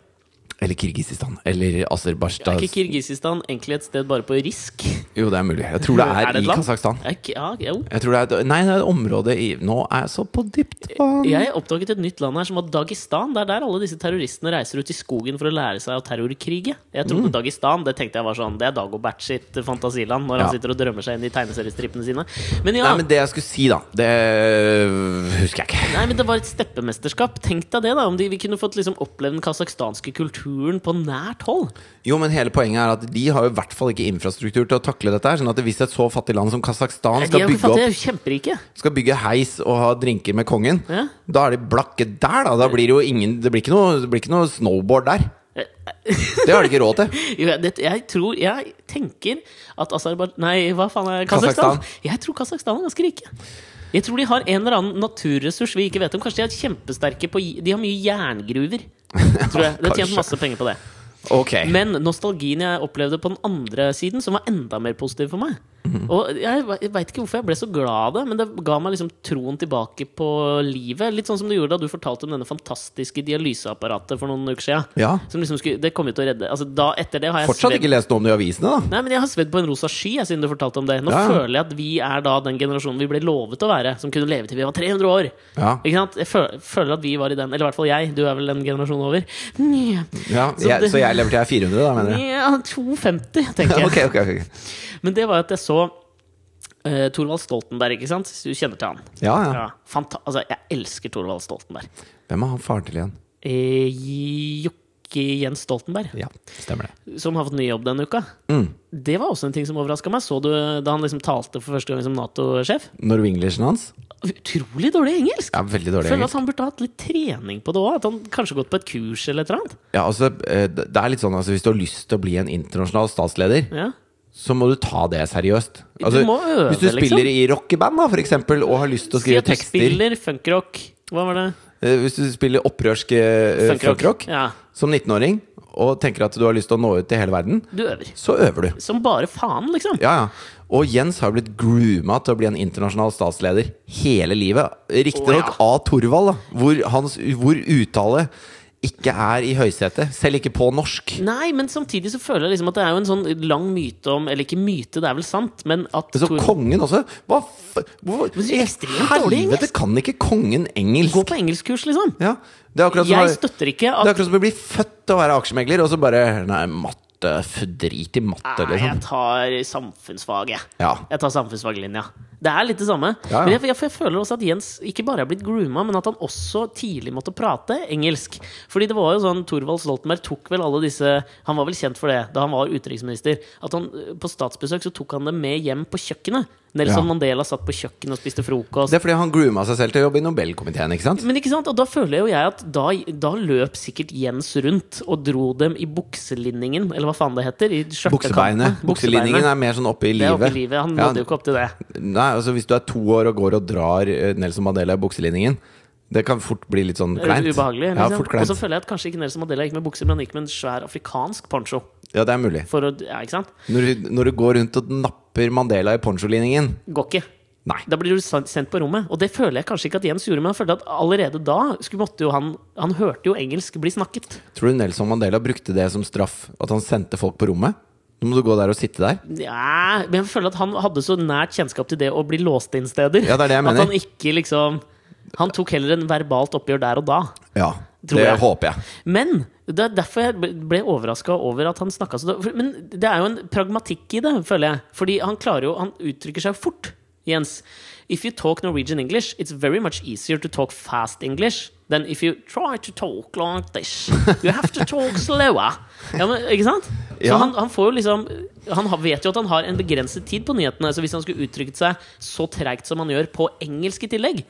Speaker 1: Eller Kirgisistan. Eller
Speaker 2: Er
Speaker 1: Aserbajdsjan.
Speaker 2: ikke Kirgisistan egentlig et sted bare på risk?
Speaker 1: Jo, det er mulig. Jeg tror det er,
Speaker 2: Er det et
Speaker 1: i
Speaker 2: land?
Speaker 1: Kasakhstan.
Speaker 2: Er ikke, ja, jo.
Speaker 1: Jeg tror det er et, nei, det er et område i Nå er jeg så på dypt vann.
Speaker 2: Jeg oppdaget et nytt land her som var Dagestan. Det er der alle disse terroristene reiser ut i skogen for å lære seg å terrorkrige. Jeg trodde
Speaker 1: Mm.
Speaker 2: Dagestan det tenkte jeg var sånn Det er Dagobert sitt fantasiland når
Speaker 1: Ja.
Speaker 2: han sitter og drømmer seg inn i tegneseriestrippene sine. Men ja,
Speaker 1: Nei, men det jeg skulle si, da Det husker jeg ikke.
Speaker 2: det var et steppemesterskap. Tenk deg det, da. Om de, vi kunne fått liksom opplevd den kasakhstanske kulturen på nært hold.
Speaker 1: Jo, men hele poenget er at de har jo i hvert fall ikke infrastruktur til å takle dette her. Sånn at hvis et så fattig land som Kasakhstan
Speaker 2: De
Speaker 1: skal
Speaker 2: er jo ikke
Speaker 1: bygge
Speaker 2: fattige, de
Speaker 1: opp
Speaker 2: er jo kjemperike.
Speaker 1: Skal bygge heis og ha drinker med kongen,
Speaker 2: Ja.
Speaker 1: da er de blakke der, da. Da blir det jo ingen Det blir ikke noe, det blir ikke noe snowboard der. Det har de ikke råd
Speaker 2: [LAUGHS]
Speaker 1: til.
Speaker 2: Jo, jeg- det, jeg tror Jeg tenker at Aserbajdsjan Nei, hva faen er Kasakhstan? Jeg tror Kasakhstan er ganske rike. Jeg tror de har en eller annen naturressurs vi ikke vet om. Kanskje de er kjempesterke på j- De har mye jerngruver. Tror
Speaker 1: [LAUGHS]
Speaker 2: jeg. Det er tjent
Speaker 1: Kanskje.
Speaker 2: masse penger på det.
Speaker 1: Ok.
Speaker 2: Men nostalgien jeg opplevde på den andre siden, som var enda mer positiv for meg,
Speaker 1: Mhm.
Speaker 2: Og jeg, ve- jeg veit ikke hvorfor jeg ble så glad av det, men det ga meg liksom troen tilbake på livet. Litt sånn som du gjorde da du fortalte om denne fantastiske dialyseapparatet for noen uker siden.
Speaker 1: Ja.
Speaker 2: Som liksom skulle, det kom jo til å redde altså, da, Etter det har jeg
Speaker 1: Fortsatt
Speaker 2: svedd-
Speaker 1: ikke lest noe om det i avisene, da.
Speaker 2: Nei, men jeg har svedd på en rosa sky jeg, siden du fortalte om det. Nå
Speaker 1: Ja.
Speaker 2: føler jeg at vi er da den generasjonen vi ble lovet å være, som kunne leve til vi var 300 år.
Speaker 1: Ja.
Speaker 2: Ikke sant? Jeg føler, føler at vi var i den, eller i hvert fall jeg. Du er vel en generasjon over. Nja,
Speaker 1: Ja,
Speaker 2: Så
Speaker 1: jeg,
Speaker 2: det-
Speaker 1: så jeg lever til jeg er 400, da,
Speaker 2: [LAUGHS]
Speaker 1: mener du?
Speaker 2: nja, 250, tenker jeg.
Speaker 1: [LAUGHS] Ok, ok, ok.
Speaker 2: Men det var at jeg så eh, Thorvald Stoltenberg, ikke sant? Du kjenner til han?
Speaker 1: Ja, ja.
Speaker 2: Ja, fanta altså, jeg elsker Thorvald Stoltenberg.
Speaker 1: Hvem er han faren til igjen?
Speaker 2: Eh, Jokke Jens Stoltenberg,
Speaker 1: Ja, stemmer det.
Speaker 2: som har fått ny jobb denne uka.
Speaker 1: Mm.
Speaker 2: Det var også en ting som overraska meg. Så du da han liksom talte for første gang som Nato-sjef?
Speaker 1: Norwinglishen hans
Speaker 2: Utrolig dårlig engelsk!
Speaker 1: er veldig dårlig.
Speaker 2: Føler
Speaker 1: engelsk.
Speaker 2: at han burde hatt litt trening på det òg. At han kanskje gått på et kurs eller et eller annet.
Speaker 1: Ja, altså, eh, det det er litt sånn, altså, Hvis du har lyst til å bli en internasjonal statsleder,
Speaker 2: Ja.
Speaker 1: så må du ta det seriøst. Altså,
Speaker 2: må øve,
Speaker 1: hvis du
Speaker 2: liksom.
Speaker 1: spiller i rockeband da, for eksempel, og har lyst til å
Speaker 2: Si
Speaker 1: skrive
Speaker 2: at du
Speaker 1: tekster
Speaker 2: spiller funkrock. Hva var det?
Speaker 1: eh, Hvis du spiller opprørsk eh, funkrock
Speaker 2: Ja.
Speaker 1: som 19-åring, og tenker at du har lyst til å nå ut til hele verden,
Speaker 2: Du øver.
Speaker 1: så øver du.
Speaker 2: Som bare faen, liksom.
Speaker 1: Ja, ja. Og Jens har blitt grooma til å bli en internasjonal statsleder hele livet. Riktignok
Speaker 2: Å,
Speaker 1: av Thorvald, da, hvor, hans, hvor uttale ikke er i høysetet. Selv ikke på norsk.
Speaker 2: Nei, men samtidig så føler jeg liksom at det er jo en sånn lang myte om Eller ikke myte, det er vel sant, men at
Speaker 1: Men så
Speaker 2: Tor-
Speaker 1: kongen også Hva f... Hvor,
Speaker 2: Men så ekstremt dårlig engelsk.
Speaker 1: Helvete, kan ikke kongen engelsk?
Speaker 2: Gå på engelskkurs, liksom!
Speaker 1: Ja, det er akkurat som,
Speaker 2: Jeg
Speaker 1: å-
Speaker 2: støtter
Speaker 1: det
Speaker 2: ikke
Speaker 1: er
Speaker 2: at
Speaker 1: akkurat som å bli født til å være aksjemegler, og så bare Nei, matte f- Drit i matte,
Speaker 2: Nei, jeg
Speaker 1: liksom.
Speaker 2: tar samfunnsfag, jeg.
Speaker 1: Ja.
Speaker 2: Jeg tar samfunnsfaglinja. Det er litt det samme.
Speaker 1: Ja, ja.
Speaker 2: Men jeg, jeg, for jeg føler også at Jens ikke bare er blitt grooma, men at han også tidlig måtte prate engelsk. Fordi det var jo sånn Thorvald Stoltenberg tok vel alle disse Han var vel kjent for det da han var utenriksminister. At han eh, på statsbesøk så tok han dem med hjem på kjøkkenet. Nelson
Speaker 1: Ja.
Speaker 2: Mandela satt på kjøkkenet og spiste frokost.
Speaker 1: Det er fordi han grooma seg selv til å jobbe i Nobelkomiteen, ikke sant?
Speaker 2: Men ikke sant, og da føler jo jeg at da, da løp sikkert Jens rundt og dro dem i bukselinningen, eller hva faen det heter. I skjørtekantene.
Speaker 1: Buksebeinet. Bukselinningen er mer sånn oppe i
Speaker 2: Det er oppe
Speaker 1: livet.
Speaker 2: i livet. Han
Speaker 1: Ja,
Speaker 2: nådde jo ikke opp til det.
Speaker 1: Nei, altså Hvis du er to år og går og drar eh, Nelson Mandela i bukselinningen Det kan fort bli litt sånn kleint.
Speaker 2: Ubehagelig.
Speaker 1: Ja,
Speaker 2: Liksom.
Speaker 1: fort
Speaker 2: og
Speaker 1: kleint.
Speaker 2: så føler jeg at kanskje ikke Nelson Mandela gikk med bukser, men han gikk med en svær afrikansk poncho.
Speaker 1: Ja, det er mulig.
Speaker 2: For å, ja, ikke sant?
Speaker 1: Når du, når du går rundt og napper Mandela i poncholinningen
Speaker 2: Går ikke.
Speaker 1: Nei.
Speaker 2: Da blir du sen- sendt på rommet. Og det føler jeg kanskje ikke at Jens gjorde, men jeg følte at allerede da skulle måtte jo han Han hørte jo engelsk bli snakket.
Speaker 1: Tror du Nelson Mandela brukte det som straff? At han sendte folk på rommet? Nå må du gå der og sitte der.
Speaker 2: Nja, men jeg føler at han hadde så nært kjennskap til det å bli låst inn steder.
Speaker 1: Ja, det er det jeg
Speaker 2: at
Speaker 1: mener.
Speaker 2: han ikke liksom Han tok heller en verbalt oppgjør der og da.
Speaker 1: Ja,
Speaker 2: Tror
Speaker 1: det
Speaker 2: jeg.
Speaker 1: håper jeg.
Speaker 2: Men det er derfor jeg ble- ble overraska over at han snakka så for- Men det er jo en pragmatikk i det, føler jeg. Fordi han klarer jo Han uttrykker seg fort, Jens. If you talk Norwegian English, it's very much easier to talk fast English than if you try to talk like this. You have to talk slower. Ja, men, ikke sant? Så
Speaker 1: Ja.
Speaker 2: han, han får jo liksom Han har- vet jo at han har en begrenset tid på nyhetene. Så hvis han skulle uttrykket seg så treigt som han gjør på engelsk i tillegg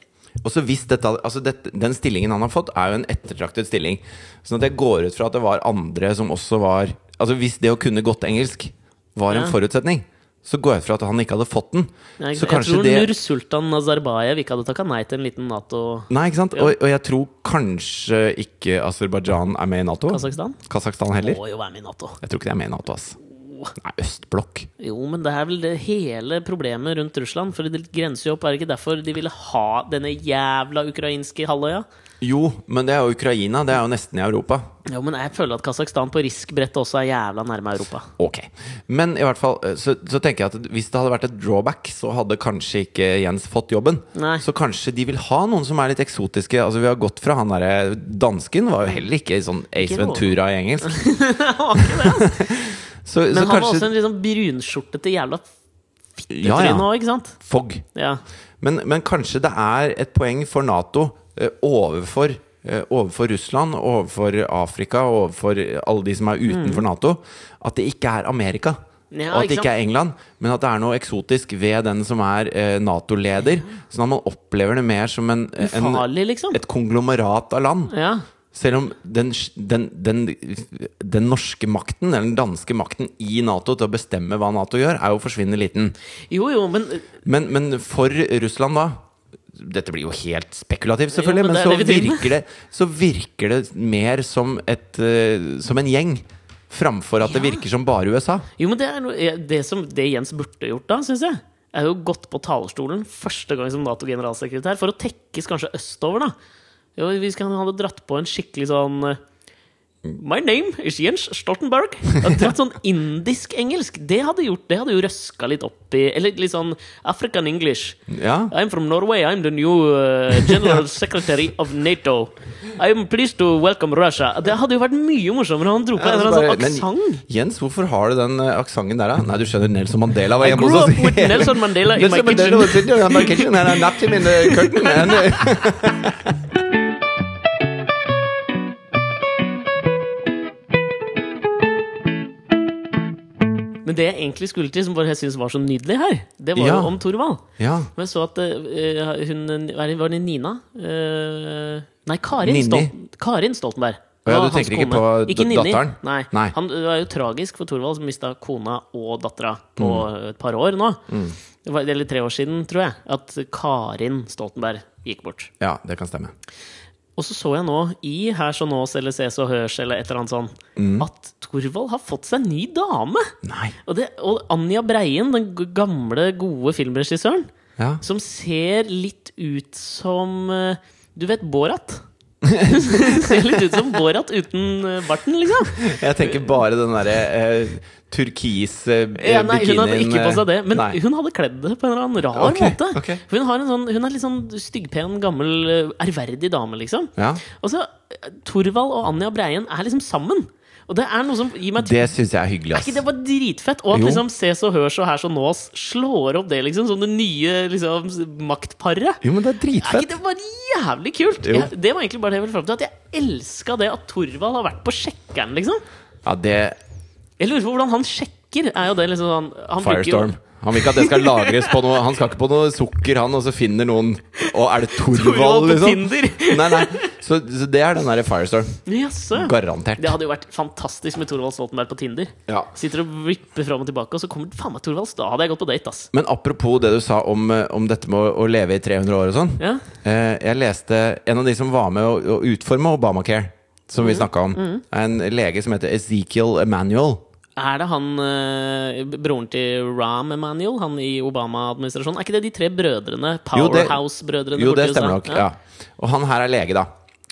Speaker 1: Og så hvis dette, altså dette, Den stillingen han har fått, er jo en ettertraktet stilling. Sånn at jeg går ut fra at det var andre som også var Altså Hvis det å kunne godt engelsk var en
Speaker 2: Ja.
Speaker 1: forutsetning, så går jeg ut fra at han ikke hadde fått den.
Speaker 2: Jeg,
Speaker 1: så
Speaker 2: jeg
Speaker 1: kanskje
Speaker 2: tror
Speaker 1: det
Speaker 2: Nur Sultan Nazarbayev ikke hadde takka nei til en liten Nato
Speaker 1: Nei, ikke sant? Og, og jeg tror kanskje ikke Aserbajdsjan er med i
Speaker 2: [LAUGHS]
Speaker 1: Nato.
Speaker 2: Kasakhstan.
Speaker 1: Kasakhstan heller.
Speaker 2: Må jo være med i Nato.
Speaker 1: Jeg tror ikke de er med i Nato, ass. Nei, østblokk.
Speaker 2: Jo, men det er vel det hele problemet rundt Russland. For det grenser jo opp. Er det ikke derfor de ville ha denne jævla ukrainske halvøya?
Speaker 1: Jo, men det er jo Ukraina. Det er jo nesten i Europa.
Speaker 2: Jo, men jeg føler at Kasakhstan på riskbrettet også er jævla nærme Europa.
Speaker 1: Ok. Men i hvert fall, eh, så, så tenker jeg at hvis det hadde vært et drawback, så hadde kanskje ikke Jens fått jobben.
Speaker 2: Nei.
Speaker 1: Så kanskje de vil ha noen som er litt eksotiske. Altså Vi har gått fra han derre dansken, var jo heller ikke sånn Ace
Speaker 2: Ikke noe.
Speaker 1: Ventura i engelsk.
Speaker 2: [LAUGHS]
Speaker 1: [LAUGHS] så,
Speaker 2: altså.
Speaker 1: så
Speaker 2: Men han var også
Speaker 1: kanskje
Speaker 2: en liksom brunskjortete jævla
Speaker 1: Ja,
Speaker 2: tryn
Speaker 1: ja.
Speaker 2: òg, ikke sant?
Speaker 1: Fogg.
Speaker 2: Ja.
Speaker 1: Men, men kanskje det er et poeng for Nato eh, overfor eh, Overfor Russland, overfor Afrika, overfor alle de som er utenfor Nato. At det ikke er Amerika.
Speaker 2: Mm. Ja,
Speaker 1: og at det
Speaker 2: ikke
Speaker 1: ikke er England, men at det er noe eksotisk ved den som er eh, Nato-leder. Sånn at man opplever det mer som en, en,
Speaker 2: Farlig, liksom.
Speaker 1: et konglomerat av land.
Speaker 2: Ja.
Speaker 1: Selv om den, den, den, den norske makten, eller den danske makten i Nato til å bestemme hva Nato gjør, er jo forsvinnende liten.
Speaker 2: Jo, jo, men
Speaker 1: Men, men for Russland, da? Dette blir jo helt spekulativt, selvfølgelig,
Speaker 2: Jo, men
Speaker 1: men,
Speaker 2: det er
Speaker 1: så,
Speaker 2: det vi driver med.
Speaker 1: virker det, så virker det mer som, et, eh, som en gjeng. Framfor at det
Speaker 2: Ja.
Speaker 1: virker som bare USA.
Speaker 2: Jo, men det er noe, det som det Jens burde gjort da, syns jeg, er jo gått på talerstolen første gang som Nato-generalsekretær for å tekkes kanskje østover, da. Jo, hvis han hadde dratt på en skikkelig sånn eh, My name is Jens Stoltenberg.
Speaker 1: [LAUGHS]
Speaker 2: Og Dratt sånn indisk-engelsk. Det hadde gjort, det hadde jo røska litt opp i Eller litt sånn African English.
Speaker 1: Ja.
Speaker 2: I'm from Norway. I'm the new uh, general secretary of NATO. I'm pleased to welcome Russia. Det hadde jo vært mye morsommere om han dro på en eller
Speaker 1: altså Bare-
Speaker 2: annen sånn aksent.
Speaker 1: Men Jens, hvorfor har du den eh, aksenten der, da? Nei, du skjønner, Nelson Mandela var
Speaker 2: I
Speaker 1: hjemme
Speaker 2: grew
Speaker 1: hos
Speaker 2: up
Speaker 1: oss.
Speaker 2: with Nelson
Speaker 1: [LAUGHS]
Speaker 2: Mandela in my
Speaker 1: Nelson Mandela
Speaker 2: kitchen.
Speaker 1: was sitting on my kitchen and I napped him in the
Speaker 2: [LAUGHS]
Speaker 1: curtain. And, eh,
Speaker 2: Men det jeg egentlig skulle til, som bare jeg synes var så nydelig her, det var
Speaker 1: Ja.
Speaker 2: jo om Thorvald.
Speaker 1: ja.
Speaker 2: Men jeg så at eh, hun hva er det- Var det Nina? Eh, nei, Karin,
Speaker 1: Ninni.
Speaker 2: Stol Karin Stoltenberg.
Speaker 1: Å ja,
Speaker 2: var
Speaker 1: du
Speaker 2: hans
Speaker 1: tenker ikke
Speaker 2: kone.
Speaker 1: på d-
Speaker 2: Ninni.
Speaker 1: datteren?
Speaker 2: Nei.
Speaker 1: Nei.
Speaker 2: Han, det var jo tragisk for Thorvald, som mista kona og dattera på
Speaker 1: Mm.
Speaker 2: et par år nå. Det var, eller tre år siden, tror jeg, at Karin Stoltenberg gikk bort.
Speaker 1: ja, det kan stemme.
Speaker 2: Og så så jeg nå i Her så nås eller Ses og Hørs eller et eller annet sånn, at Thorvald har fått seg en ny dame!
Speaker 1: Nei.
Speaker 2: Og, det, og Anja Breien, den g- gamle, gode filmregissøren,
Speaker 1: Ja.
Speaker 2: som ser litt ut som eh, Du vet Borat? [LAUGHS] ser litt ut som Borat uten eh, barten, liksom.
Speaker 1: Jeg tenker bare den derre eh, turkis eh,
Speaker 2: Ja, nei, hun hadde
Speaker 1: bikinien, eh,
Speaker 2: ikke på seg det, men
Speaker 1: nei.
Speaker 2: hun hadde kledd det på en eller annen rar
Speaker 1: Ok,
Speaker 2: måte.
Speaker 1: ok.
Speaker 2: Hun, har en sånn, hun er litt sånn styggpen, gammel, eh, ærverdig dame, liksom.
Speaker 1: ja.
Speaker 2: Og så eh, Thorvald og Anja Breien er liksom sammen. Og det er noe som gir meg
Speaker 1: Det syns jeg er hyggelig,
Speaker 2: Er ikke det
Speaker 1: ass.
Speaker 2: bare dritfett? Og at
Speaker 1: Jo.
Speaker 2: liksom Ses og Hørs og Her som nås slår opp det liksom som det nye liksom, maktparet.
Speaker 1: Jo, men det er
Speaker 2: Er ikke
Speaker 1: dritfett.
Speaker 2: det bare jævlig kult?
Speaker 1: Jo.
Speaker 2: Jeg, det var egentlig bare det jeg ville fram til. At jeg elska det at Thorvald har vært på sjekkeren, liksom.
Speaker 1: Ja, det
Speaker 2: Jeg lurer på hvordan han sjekker. Er jo det liksom sånn han bruker jo-
Speaker 1: Firestorm. Han vil ikke at det skal lagres på noe Han skal ikke på noe sukker, han, og så finner noen Og er det Torvald,
Speaker 2: Thorvald på
Speaker 1: liksom?
Speaker 2: Tinder.
Speaker 1: Nei, nei. Så, så det er den derre Firestorm.
Speaker 2: Jaså.
Speaker 1: Garantert.
Speaker 2: Det hadde jo vært fantastisk med Thorvald Stoltenberg på Tinder.
Speaker 1: Ja.
Speaker 2: Sitter og vipper fram og tilbake, og så kommer faen meg Thorvald. Da hadde jeg gått på date, ass.
Speaker 1: Men apropos det du sa om, eh, om dette med å, å leve i 300 år og sånn.
Speaker 2: Ja.
Speaker 1: Eh, jeg leste en av de som var med å, å utforme Obamacare, som vi
Speaker 2: Mm.
Speaker 1: snakka om. er En lege som heter Ezekiel Emanuel.
Speaker 2: Er det han eh, broren til Rahm Emanuel, han i Obama-administrasjonen? Er ikke det de tre brødrene?
Speaker 1: Jo, det-
Speaker 2: Powerhouse-brødrene?
Speaker 1: Jo,
Speaker 2: borti
Speaker 1: det
Speaker 2: USA?
Speaker 1: stemmer nok. Ja. Og han her er lege, da.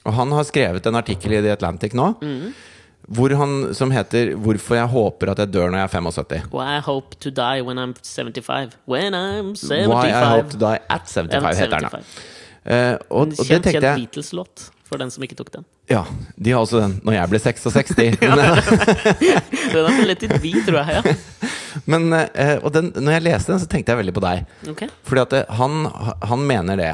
Speaker 1: Og han har skrevet en artikkel i The Atlantic nå
Speaker 2: Mhm.
Speaker 1: hvor han, som heter 'Hvorfor jeg håper at jeg dør når jeg er 75'.
Speaker 2: Why I hope to die when I'm 75. When I'm 75.
Speaker 1: Why I hope to die at 75, heter den. da.
Speaker 2: 75.
Speaker 1: Eh, og, og
Speaker 2: En
Speaker 1: det
Speaker 2: kjent,
Speaker 1: tenkte
Speaker 2: kjent
Speaker 1: jeg
Speaker 2: Beatles-låt, for den som ikke tok den.
Speaker 1: Ja, de har også den. Når jeg ble
Speaker 2: [LAUGHS]
Speaker 1: 66. [LAUGHS] Men,
Speaker 2: Den er lett i vi, tror jeg. Ja.
Speaker 1: Men, eh, og den, når jeg leste den, så tenkte jeg veldig på deg.
Speaker 2: Ok.
Speaker 1: Fordi at eh, han, han mener det.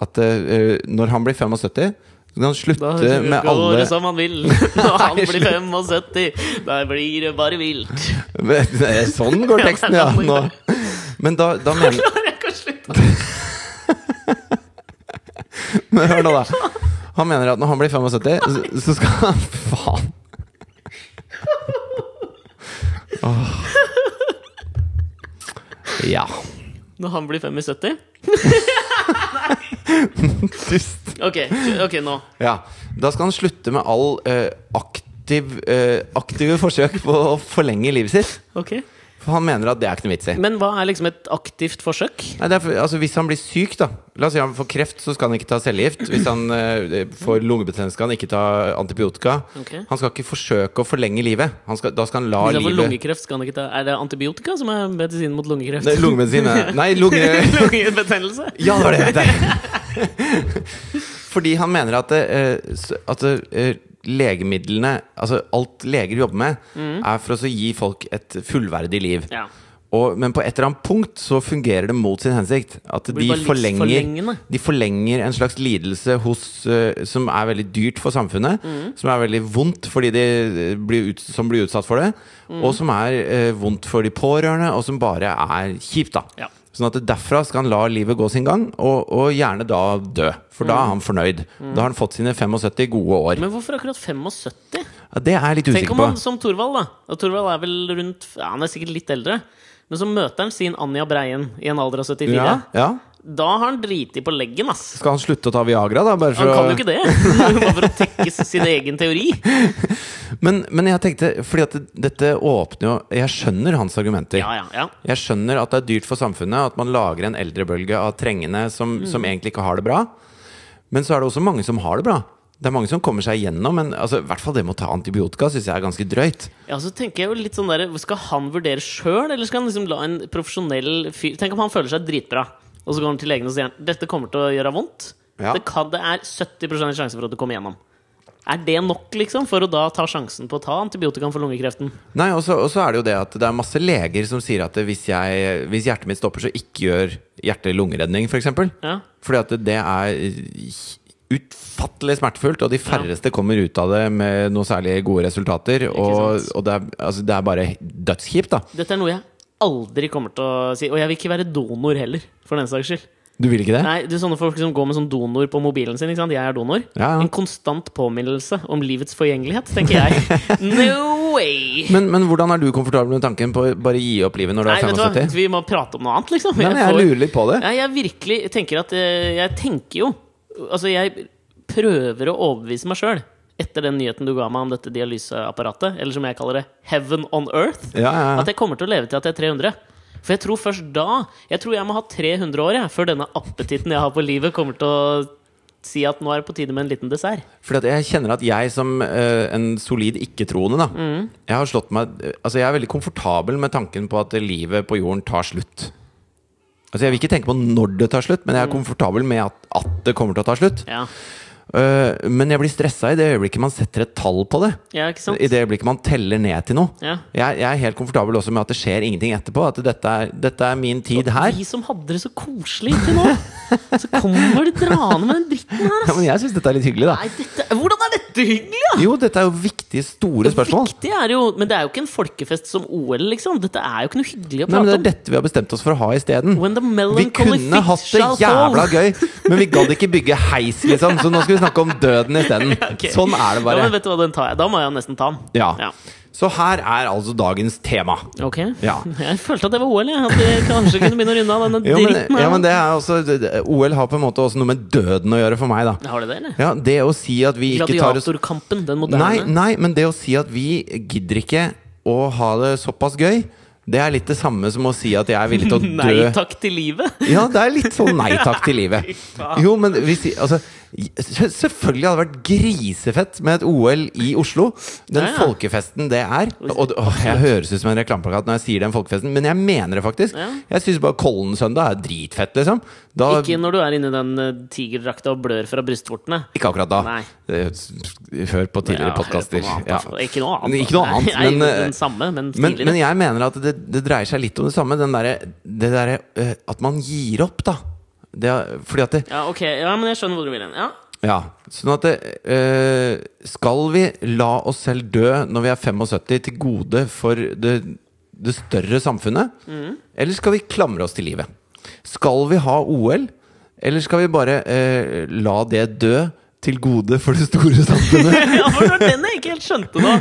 Speaker 1: At eh, når han blir 75, så kan han
Speaker 2: Da
Speaker 1: slutte med
Speaker 2: går
Speaker 1: alle
Speaker 2: det som liksom. han vil når han
Speaker 1: Nei,
Speaker 2: blir 75. Da blir det bare vilt.
Speaker 1: [LAUGHS] Sånn går teksten,
Speaker 2: [LAUGHS]
Speaker 1: ja. Nå. Men da, da mener
Speaker 2: Klarer jeg ikke å slutte?
Speaker 1: [LAUGHS] Men hør nå, da. Han mener at når han blir 75, så, så skal han [LAUGHS] Faen! Åh. Ja.
Speaker 2: Når han blir 75?
Speaker 1: Dust.
Speaker 2: Ok, ok, nå.
Speaker 1: Ja, Da skal han slutte med all eh, aktiv, eh, aktive forsøk på å forlenge livet sitt.
Speaker 2: Ok.
Speaker 1: For han mener at det er ikke noe vits i.
Speaker 2: Men hva er liksom et aktivt forsøk?
Speaker 1: Nei, det er for, altså, hvis han blir syk, da La oss si han får kreft, så skal han ikke ta cellegift. Hvis han eh, får lungebetennelse, skal han ikke ta antibiotika.
Speaker 2: Ok.
Speaker 1: Han skal ikke forsøke å forlenge livet. Han skal, da skal han la
Speaker 2: Hvis han får
Speaker 1: livet
Speaker 2: lungekreft, skal han ikke ta Er det antibiotika som er medisinen mot lungekreft?
Speaker 1: Nei, lungemedisin er Nei, lunge...
Speaker 2: [LAUGHS] Lungebetennelse?
Speaker 1: Ja, det var det! Der.
Speaker 2: [LAUGHS]
Speaker 1: Fordi han mener at, eh, s- at eh, legemidlene Altså alt leger jobber med, er for å så gi folk et fullverdig liv.
Speaker 2: Mm. Ja.
Speaker 1: Og, men på et eller annet punkt så fungerer det mot sin hensikt. At
Speaker 2: blir
Speaker 1: de
Speaker 2: bare
Speaker 1: forlenger,
Speaker 2: livsforlengende.
Speaker 1: de forlenger en slags lidelse hos, eh, som er veldig dyrt for samfunnet.
Speaker 2: Mm.
Speaker 1: Som er veldig vondt for de de eh, blir ut, som blir utsatt for det.
Speaker 2: Mm.
Speaker 1: Og som er eh, vondt for de pårørende, og som bare er kjipt, da.
Speaker 2: Ja.
Speaker 1: Sånn at derfra skal han la livet gå sin gang, og, og gjerne da dø. For da er han fornøyd. Da har han fått sine 75 gode år.
Speaker 2: Mm. Men hvorfor akkurat 75?
Speaker 1: Ja, det er jeg litt
Speaker 2: Tenk
Speaker 1: usikker
Speaker 2: om
Speaker 1: på.
Speaker 2: han som Thorvald, da. Og Thorvald er vel rundt ja, Han er sikkert litt eldre. Men så møter han sin Anja Breien i en alder av 74.
Speaker 1: Ja, ja.
Speaker 2: Da har han driti på leggen, ass.
Speaker 1: Skal han
Speaker 2: [LAUGHS]
Speaker 1: slutte å ta Viagra, da? Bare for
Speaker 2: Han
Speaker 1: å-
Speaker 2: kan jo ikke det! Bare for å tekkes sin egen teori.
Speaker 1: Men, men jeg tenkte, fordi at det- dette åpner jo Jeg skjønner hans argumenter.
Speaker 2: Ja, ja, ja.
Speaker 1: Jeg skjønner at det er dyrt for samfunnet at man lager en eldrebølge av trengende som,
Speaker 2: Mm.
Speaker 1: som egentlig ikke har det bra. Men så er det også mange som har det bra. Det er mange som kommer seg igjennom, men altså, i hvert fall det med å ta antibiotika syns jeg er ganske drøyt.
Speaker 2: Ja, så tenker jeg jo litt sånn der, Skal han vurdere sjøl, eller skal han liksom la en profesjonell fyr Tenk om han føler seg dritbra, og så går han til legen og sier han, dette kommer til å gjøre vondt.
Speaker 1: Ja.
Speaker 2: Det, kan, det er 70 sjanse for at du kommer gjennom. Er det nok liksom, for å da ta sjansen på å ta antibiotikaen for lungekreften?
Speaker 1: Nei, og så og så er det jo det at det er masse leger som sier at hvis, jeg, hvis hjertet mitt stopper, så ikke gjør hjerte-lungeredning, f.eks. For
Speaker 2: Ja.
Speaker 1: Fordi at det er utfattelig smertefullt, og de færreste kommer ut av det med noe særlig gode resultater. Og,
Speaker 2: sant?
Speaker 1: og det, er, altså, det er bare dødskjipt, da.
Speaker 2: Dette er noe jeg aldri kommer til å si. Og jeg vil ikke være donor heller, for den saks skyld.
Speaker 1: Du vil ikke det?
Speaker 2: Nei, det er sånne folk som går med sånn donor på mobilen sin. ikke sant? Jeg er donor.
Speaker 1: Ja, ja.
Speaker 2: En konstant påminnelse om livets forgjengelighet, tenker
Speaker 1: [LAUGHS]
Speaker 2: jeg. No way!
Speaker 1: Men, men hvordan er du komfortabel med tanken på å bare gi opp livet når du
Speaker 2: Nei,
Speaker 1: er
Speaker 2: vet du hva?
Speaker 1: 75?
Speaker 2: Vi må prate om noe annet, liksom.
Speaker 1: Nei, men jeg
Speaker 2: får-
Speaker 1: lurer litt på det.
Speaker 2: Nei, jeg virkelig tenker at eh, Jeg tenker jo Altså, jeg prøver å overbevise meg sjøl etter den nyheten du ga meg om dette dialyseapparatet, eller som jeg kaller det, heaven on earth.
Speaker 1: Ja, ja, ja.
Speaker 2: At jeg kommer til å leve til at jeg er 300. For jeg tror først da Jeg tror jeg må ha 300 år jeg, før denne appetitten jeg har på livet, kommer til å si at nå er det på tide med en liten dessert.
Speaker 1: Fordi at jeg kjenner at jeg som eh, en solid ikke-troende, da
Speaker 2: Mm.
Speaker 1: Jeg har slått meg Altså, jeg er veldig komfortabel med tanken på at livet på jorden tar slutt. Altså, jeg vil ikke tenke på når det tar slutt, men
Speaker 2: Mm.
Speaker 1: jeg er komfortabel med at, at det kommer til å ta slutt.
Speaker 2: Ja,
Speaker 1: Eh, men jeg blir stressa i det øyeblikket man setter et tall på det.
Speaker 2: ja ikke sant?
Speaker 1: I det øyeblikket man teller ned til noe.
Speaker 2: Ja.
Speaker 1: Jeg, jeg er helt komfortabel også med at det skjer ingenting etterpå. At dette er, dette er min tid her.
Speaker 2: De som hadde det så koselig til nå, så kommer de draende med den dritten her,
Speaker 1: Ja,
Speaker 2: ass.
Speaker 1: men jeg syns dette er litt hyggelig, da.
Speaker 2: Nei, dette, hvordan er dette hyggelig, da?!
Speaker 1: Jo, dette er jo viktige, store spørsmål.
Speaker 2: Viktig er jo, men det er jo ikke en folkefest som OL, liksom. Dette er jo ikke noe hyggelig å
Speaker 1: Nei, men Det
Speaker 2: prate
Speaker 1: er dette vi har bestemt oss for å ha isteden.
Speaker 2: om. When the
Speaker 1: Vi
Speaker 2: melancholy
Speaker 1: kunne
Speaker 2: fish
Speaker 1: hatt det
Speaker 2: shall
Speaker 1: jævla
Speaker 2: fall.
Speaker 1: gøy, men vi gadd ikke bygge heis, liksom. Så nå skal vi snakke om døden isteden.
Speaker 2: Ok.
Speaker 1: Sånn er det
Speaker 2: [LAUGHS] Ja,
Speaker 1: bare.
Speaker 2: men vet du hva, den tar jeg. Da må jeg jo nesten ta den.
Speaker 1: Ja. Så her er altså dagens tema.
Speaker 2: Ok.
Speaker 1: Ja.
Speaker 2: [LAUGHS] Jeg følte at det var OL, jeg. At vi kanskje kunne begynne å runde av denne
Speaker 1: [LAUGHS] Jo, men,
Speaker 2: dritten her.
Speaker 1: ja, men det er også OL har på en måte også noe med døden å gjøre for meg, da.
Speaker 2: Har du det, eller?
Speaker 1: Ja, det å si at vi ikke tar oss
Speaker 2: Gladiatorkampen, den
Speaker 1: Nei,
Speaker 2: moderne.
Speaker 1: nei, men det å si at vi gidder ikke å ha det såpass gøy, det er litt det samme som å si at jeg er villig
Speaker 2: [LAUGHS]
Speaker 1: til å dø
Speaker 2: Nei takk til livet!
Speaker 1: Ja, det er litt sånn nei takk til
Speaker 2: [LAUGHS]
Speaker 1: livet. Jo, men hvis, altså, se- selvfølgelig hadde det vært grisefett med et OL i Oslo. Den
Speaker 2: Ja, ja.
Speaker 1: folkefesten det er. Og, det- åh, jeg høres ut som en reklameplakat når jeg sier den folkefesten, men jeg mener det faktisk.
Speaker 2: Ja.
Speaker 1: Jeg syns bare Kollensøndag er dritfett, liksom. Da,
Speaker 2: [LAUGHS] Ikke når du er inni den eh, tigerdrakta og blør fra brystvortene.
Speaker 1: ikke akkurat da.
Speaker 2: Nei.
Speaker 1: Eh, Hør på tidligere
Speaker 2: Ja,
Speaker 1: podkaster.
Speaker 2: hør på noe annet,
Speaker 1: Ja.
Speaker 2: altså. Ikke noe annet.
Speaker 1: Ikke noe annet,
Speaker 2: [LAUGHS] Nei,
Speaker 1: men,
Speaker 2: nei,
Speaker 1: eh,
Speaker 2: den samme, men
Speaker 1: Men,
Speaker 2: tidligere.
Speaker 1: men jeg mener at det, det dreier seg litt om det samme. Den derre- det derre eh, At man gir opp, da. Det, er- fordi at det,
Speaker 2: Ja, ok. Ja, men jeg skjønner hvor du vil hen.
Speaker 1: [LAUGHS]
Speaker 2: Ja.
Speaker 1: Ja, sånn at det, eh, Skal vi la oss selv dø når vi er 75 til gode for det, det større samfunnet?
Speaker 2: Mm.
Speaker 1: Eller skal vi klamre oss til livet? Skal vi ha OL? Eller skal vi bare eh, la det dø til gode for det store samfunnet?
Speaker 2: ja, for det var den jeg ikke helt skjønte nå.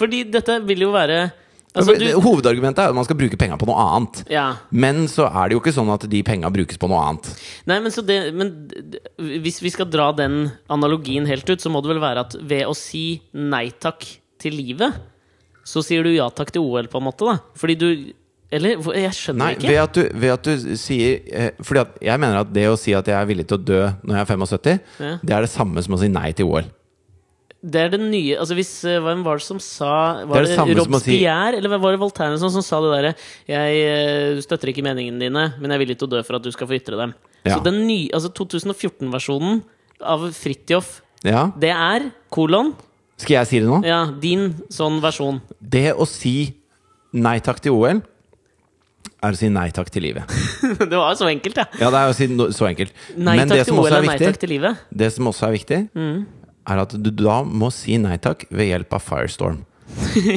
Speaker 2: Fordi dette vil jo være [LAUGHS] Altså, du
Speaker 1: Hovedargumentet er at man skal bruke penga på noe annet.
Speaker 2: Ja.
Speaker 1: Men så er det jo ikke sånn at de penga brukes på noe annet.
Speaker 2: Nei, men så det Men d- d- hvis vi skal dra den analogien helt ut, så må det vel være at ved å si nei takk til livet, så sier du ja takk til OL, på en måte, da. Fordi du Eller? hvor- Jeg
Speaker 1: Nei,
Speaker 2: skjønner ikke.
Speaker 1: ved at, du, ved at du sier eh, Fordi at jeg mener at det å si at jeg er villig til å dø når jeg er 75,
Speaker 2: Ja.
Speaker 1: det er det samme som å si nei til OL.
Speaker 2: Det er det nye Altså, hvis eh, Hvem var det som sa
Speaker 1: Det
Speaker 2: Var
Speaker 1: er det
Speaker 2: det,
Speaker 1: samme som å si-
Speaker 2: Robespierre, eller var det Voltaire som, som sa det derre Jeg eh, støtter ikke meningene dine, men jeg er villig til å dø for at du skal få ytre dem.
Speaker 1: Ja.
Speaker 2: Så den nye Altså 2014-versjonen av Fridtjof,
Speaker 1: Ja.
Speaker 2: det er kolon
Speaker 1: Skal jeg si det nå?
Speaker 2: Ja, din sånn versjon.
Speaker 1: Det å si nei takk til OL er å si nei takk til livet.
Speaker 2: [LAUGHS] det var så enkelt, ja.
Speaker 1: Ja, det er å si no, så enkelt.
Speaker 2: Nei
Speaker 1: Men det
Speaker 2: takk til
Speaker 1: som
Speaker 2: OL
Speaker 1: også er
Speaker 2: og nei takk
Speaker 1: viktig,
Speaker 2: til Mm. livet. [LAUGHS]
Speaker 1: det som også er viktig er at du da må si nei takk ved hjelp av Firestorm.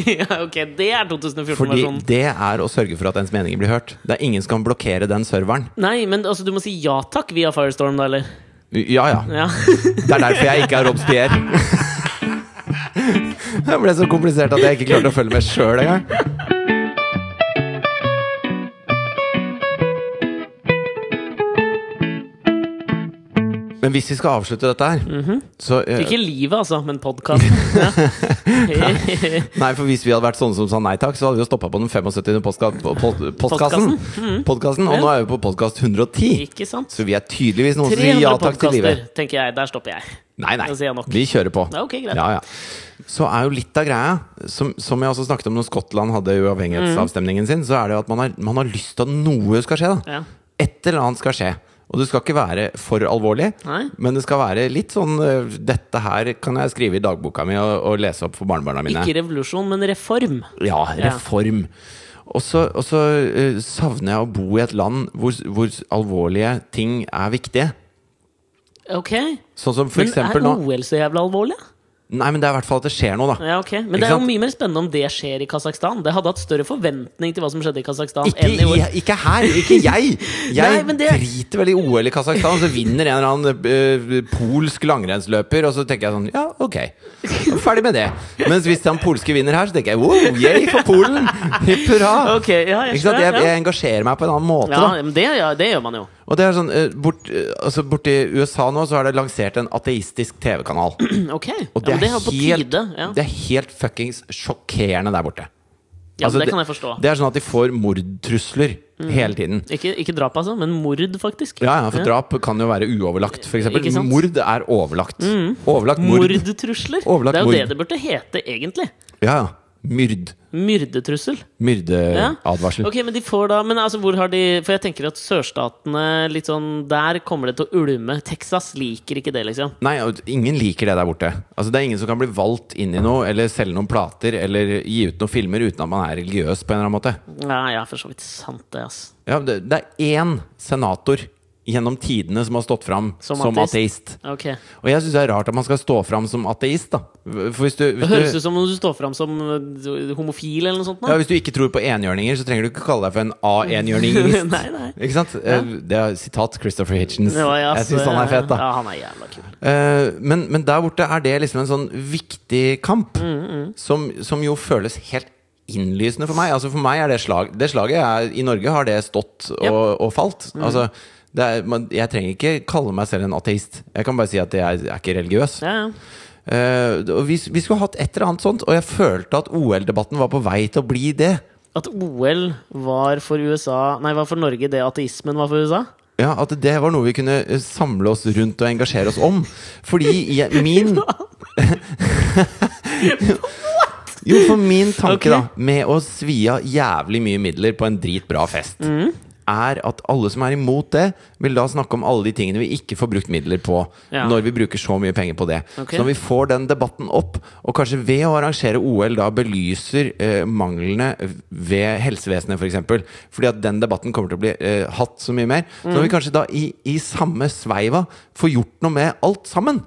Speaker 2: ja, ok, det er sånn-
Speaker 1: Fordi
Speaker 2: 2014-versjonen.
Speaker 1: det er å sørge for at ens meninger blir hørt. Det er ingen som kan blokkere den serveren.
Speaker 2: Nei, men altså, du må si ja takk via Firestorm, da, eller?
Speaker 1: Ja, ja.
Speaker 2: Ja. [LAUGHS]
Speaker 1: Det er derfor jeg ikke er Robespierre. [LAUGHS] Det ble så komplisert at jeg ikke klarte å følge med sjøl engang. Men hvis vi skal avslutte dette her, så eh,
Speaker 2: Ikke livet, altså, men
Speaker 1: [LAUGHS]
Speaker 2: podkasten. Ja.
Speaker 1: Nei, for hvis vi hadde vært sånne som sa nei takk, så hadde vi jo stoppa på den 75. postka- po- pod- postkassen. Podkasten. Og nå er vi på podkast 110.
Speaker 2: [LAUGHS] Ikke sant?
Speaker 1: Så vi er tydeligvis noen som sier
Speaker 2: 300
Speaker 1: ja takk til
Speaker 2: podkaster,
Speaker 1: livet.
Speaker 2: tenker jeg. Der stopper jeg.
Speaker 1: Nei, nei.
Speaker 2: Da sier jeg nok.
Speaker 1: Vi kjører på.
Speaker 2: Ja, ok, greit.
Speaker 1: Ja, ja. Så er jo litt av greia, som, som jeg også snakket om når Skottland hadde uavhengighetsavstemningen sin, så er det jo at man har, man har lyst til at noe skal skje, da.
Speaker 2: Ja.
Speaker 1: Et eller annet skal skje. Og det skal ikke være for alvorlig,
Speaker 2: Nei.
Speaker 1: men det skal være litt sånn eh, Dette her kan jeg skrive i dagboka mi og, og lese opp for barnebarna mine.
Speaker 2: Ikke revolusjon, men reform.
Speaker 1: Ja, reform. Og så, og så eh, savner jeg å bo i et land hvor, hvor alvorlige ting er viktige.
Speaker 2: Ok.
Speaker 1: Sånn som for
Speaker 2: Men er
Speaker 1: eksempel nå
Speaker 2: OL så jævla alvorlig? da?
Speaker 1: Nei, men det er i hvert fall at det skjer noe, da.
Speaker 2: Ja, ok. Men
Speaker 1: Ikke
Speaker 2: det er jo
Speaker 1: sant?
Speaker 2: mye mer spennende om det skjer i Kasakhstan. Det hadde hatt større forventning til hva som skjedde i Kasakhstan
Speaker 1: Ikke,
Speaker 2: enn i OL.
Speaker 1: i- ikke her! Ikke
Speaker 2: [LAUGHS]
Speaker 1: jeg! Jeg
Speaker 2: Nei, men det-
Speaker 1: driter vel i OL i Kasakhstan, så vinner en eller annen eh, polsk langrennsløper, og så tenker jeg sånn Ja, ok. Ferdig med det. Mens hvis den polske vinner her, så tenker jeg wow, yay for Polen! [LAUGHS] Hipp hurra!
Speaker 2: Ok, ja, jeg
Speaker 1: Ikke sant?
Speaker 2: skjønner,
Speaker 1: Jeg,
Speaker 2: ja.
Speaker 1: jeg engasjerer meg på en annen måte,
Speaker 2: Ja,
Speaker 1: da.
Speaker 2: men det, ja, det gjør man jo.
Speaker 1: Og det er sånn, eh, bort, eh, altså Borti USA nå så er det lansert en ateistisk TV-kanal.
Speaker 2: [CLEARS THROAT] Ok.
Speaker 1: Og
Speaker 2: ja, men det er jo på
Speaker 1: helt,
Speaker 2: tide. Ja,
Speaker 1: det er helt fuckings sjokkerende der borte.
Speaker 2: ja
Speaker 1: Altså,
Speaker 2: men det kan jeg forstå. Mm.
Speaker 1: Det er sånn at de får mordtrusler hele tiden.
Speaker 2: Ikke, ikke drap, altså, men mord, faktisk.
Speaker 1: Ja, ja, for drap kan jo være uoverlagt, f.eks.
Speaker 2: Ikke sant?
Speaker 1: Mord er overlagt. Overlagt Mm. mord.
Speaker 2: Mordtrusler.
Speaker 1: Overlagt
Speaker 2: det er jo
Speaker 1: mord.
Speaker 2: det det burde hete, egentlig.
Speaker 1: Ja, ja. Myrd.
Speaker 2: Myrdetrussel.
Speaker 1: Myrdeadvarsel.
Speaker 2: Ok, Men de får da Men altså, hvor har de For jeg tenker at sørstatene litt sånn Der kommer det til å ulme. Texas liker ikke det, liksom.
Speaker 1: Nei, og ingen liker det der borte. Altså, det er ingen som kan bli valgt inn i noe, eller selge noen plater, eller gi ut noen filmer uten at man er religiøs på en eller annen måte.
Speaker 2: Ja, ja, for så vidt sant, det, ass.
Speaker 1: Ja, det, det er én senator gjennom tidene som har stått fram
Speaker 2: Som
Speaker 1: som,
Speaker 2: ateist.
Speaker 1: ateist.
Speaker 2: Ok.
Speaker 1: Og jeg syns det er rart at man skal stå fram som ateist, da. For hvis du,
Speaker 2: Det
Speaker 1: hvis
Speaker 2: høres
Speaker 1: du,
Speaker 2: ut som om du står fram som eh, homofil eller noe sånt.
Speaker 1: ja,
Speaker 2: nå.
Speaker 1: hvis du ikke tror på enhjørninger, så trenger du ikke kalle deg for en a-enhjørningist.
Speaker 2: [LAUGHS] Nei, nei.
Speaker 1: Ikke sant? Eh, Det er sitat Christopher Hitchens.
Speaker 2: Det var- ja,
Speaker 1: jeg
Speaker 2: så-
Speaker 1: syns han er fet, da.
Speaker 2: Ja, han er jævla kul.
Speaker 1: Eh, Men, men der borte er det liksom en sånn viktig kamp,
Speaker 2: Mm,
Speaker 1: Som, som jo føles helt innlysende for meg. Altså For meg er det slag Det slaget er, i Norge har det stått og, og falt.
Speaker 2: Mm.
Speaker 1: Altså det er, man, jeg trenger ikke kalle meg selv en ateist. Jeg kan bare si at jeg er ikke religiøs.
Speaker 2: Ja, ja.
Speaker 1: Eh, og vi, vi skulle hatt et eller annet sånt, og jeg følte at OL-debatten var på vei til å bli det.
Speaker 2: At OL var for USA Nei, var for Norge det ateismen var for USA?
Speaker 1: Ja, At det var noe vi kunne eh, samle oss rundt og engasjere oss om. Fordi jeg,
Speaker 2: [LAUGHS]
Speaker 1: min [LAUGHS] Jo, for min tanke,
Speaker 2: Ok.
Speaker 1: da, med å svi av jævlig mye midler på en dritbra fest,
Speaker 2: Mm.
Speaker 1: er at alle som er imot det, vil da snakke om alle de tingene vi ikke får brukt midler på,
Speaker 2: Ja.
Speaker 1: når vi bruker så mye penger på det.
Speaker 2: Ok.
Speaker 1: Så når vi får den debatten opp, og kanskje ved å arrangere OL da belyser eh, manglene ved helsevesenet, f.eks., for eksempel, fordi at den debatten kommer til å bli eh, hatt så mye mer, så
Speaker 2: Mm.
Speaker 1: når vi kanskje da i, i samme sveiva får gjort noe med alt sammen.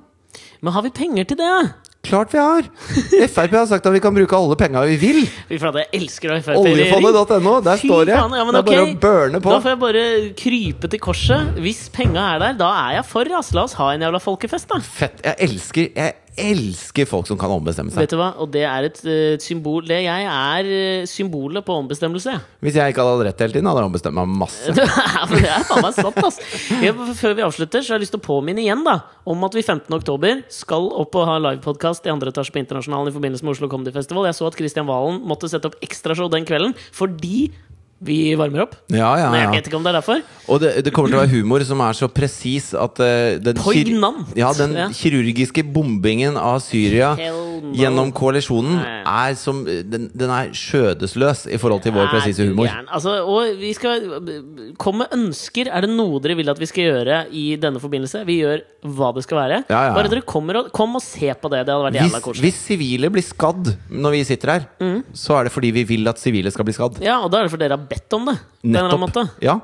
Speaker 2: Men har vi penger til det?
Speaker 1: Klart vi
Speaker 2: [LAUGHS]
Speaker 1: har! Frp har sagt at vi kan bruke alle penga vi vil.
Speaker 2: Fy flate, jeg elsker å ha Frp i regjering.
Speaker 1: Oljefondet.no, der
Speaker 2: Fy
Speaker 1: står det.
Speaker 2: faen, ja, men
Speaker 1: det er bare
Speaker 2: ok.
Speaker 1: å burne på.
Speaker 2: Da får jeg bare krype til korset. Hvis penga er der, da er jeg for, ass. La oss ha en jævla folkefest, da.
Speaker 1: Fett. Jeg elsker, jeg elsker folk som kan ombestemme seg.
Speaker 2: Vet du hva? Og det er et eh, et symbol Det jeg er eh, symbolet på ombestemmelse.
Speaker 1: Hvis jeg ikke hadde hatt rett hele tiden, hadde jeg ombestemt meg masse.
Speaker 2: [LAUGHS] Det er, men det er faen meg sant, ass. Jeg, før vi avslutter, så har jeg lyst til å påminne igjen da om at vi 15. oktober skal opp og ha livepodkast i andre etasje på Internasjonalen i forbindelse med Oslo Comedy Festival. Jeg så at Kristian Valen måtte sette opp ekstrashow den kvelden fordi vi varmer opp.
Speaker 1: Ja, ja,
Speaker 2: Men jeg
Speaker 1: ja.
Speaker 2: vet ikke om det er derfor.
Speaker 1: Og det, det kommer til å være humor som er så presis at eh, den,
Speaker 2: Poignant.
Speaker 1: ja, den
Speaker 2: Ja.
Speaker 1: kirurgiske bombingen av Syria
Speaker 2: Hell no.
Speaker 1: gjennom koalisjonen
Speaker 2: Nei.
Speaker 1: er som eh, Den, den er skjødesløs i forhold til vår
Speaker 2: Er
Speaker 1: presise
Speaker 2: du
Speaker 1: humor.
Speaker 2: gæren? Altså, og vi skal Kom med ønsker. Er det noe dere vil at vi skal gjøre i denne forbindelse? Vi gjør hva det skal være.
Speaker 1: Ja, ja, ja.
Speaker 2: Bare dere kommer og, kom og se på det. Det hadde vært
Speaker 1: Hvis,
Speaker 2: jævla koselig. Mm.
Speaker 1: hvis sivile blir skadd når vi sitter her, så er det fordi vi vil at sivile skal bli skadd.
Speaker 2: Ja, og da er det for dere har bedt om det. På en eller annen måte.
Speaker 1: Nettopp. Ja.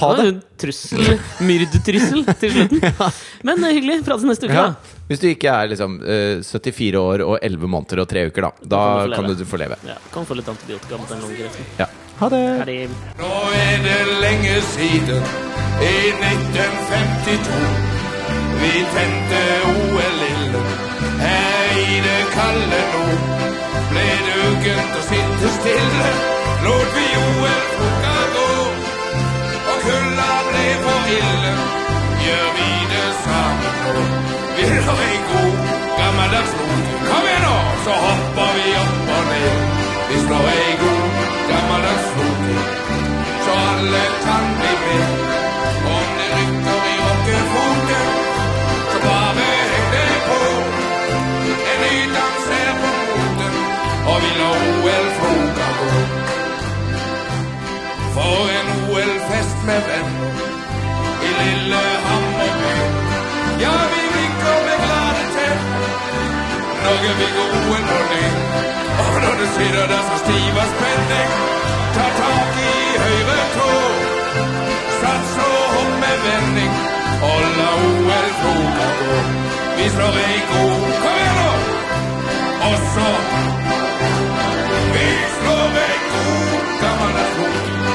Speaker 1: Ha
Speaker 2: Det var
Speaker 1: det.
Speaker 2: jo en Trussel. Myrdtrussel til slutten. Men eh, hyggelig. Prates neste uke,
Speaker 1: Ja.
Speaker 2: da.
Speaker 1: Hvis du ikke er liksom eh, 74 år og 11 måneder og 3 uker, da. Da
Speaker 2: kan
Speaker 1: kan
Speaker 2: du få
Speaker 1: du
Speaker 2: leve.
Speaker 1: få leve.
Speaker 2: Ja, kan få litt antibiotika mot den lungekreften.
Speaker 1: Ja. Ha det!
Speaker 2: Er det
Speaker 3: Nå er det lenge siden, i 1952. Vi tente OL-ilden her i det kalde nord. Ble det uggent å sitte stille, lot vi OL-klokka gå. Og kulda ble for ille, gjør vi det sammen nå. Vi har en god, gammeldags not. Kom igjen nå, så hopper vi opp og ned. Vi slår ei god, gammeldags not, så alle kan bli med. Om det rykker i rockefoten, så bare heng deg på. En ny dans er på moten, og vi lar OL-floka gå. For en OL-fest med venner i Lillehammer by. Ja, vi vinker med glade tenn. Norge vinker OL på ny. Og når du sitter der så stiv av spenning, ta tak i høyre tå. Sats og hopp med vending, og la OL-floka gå. Vi slår ei god Kom igjen, nå! Og så Vi slår ei god gammeldags flok,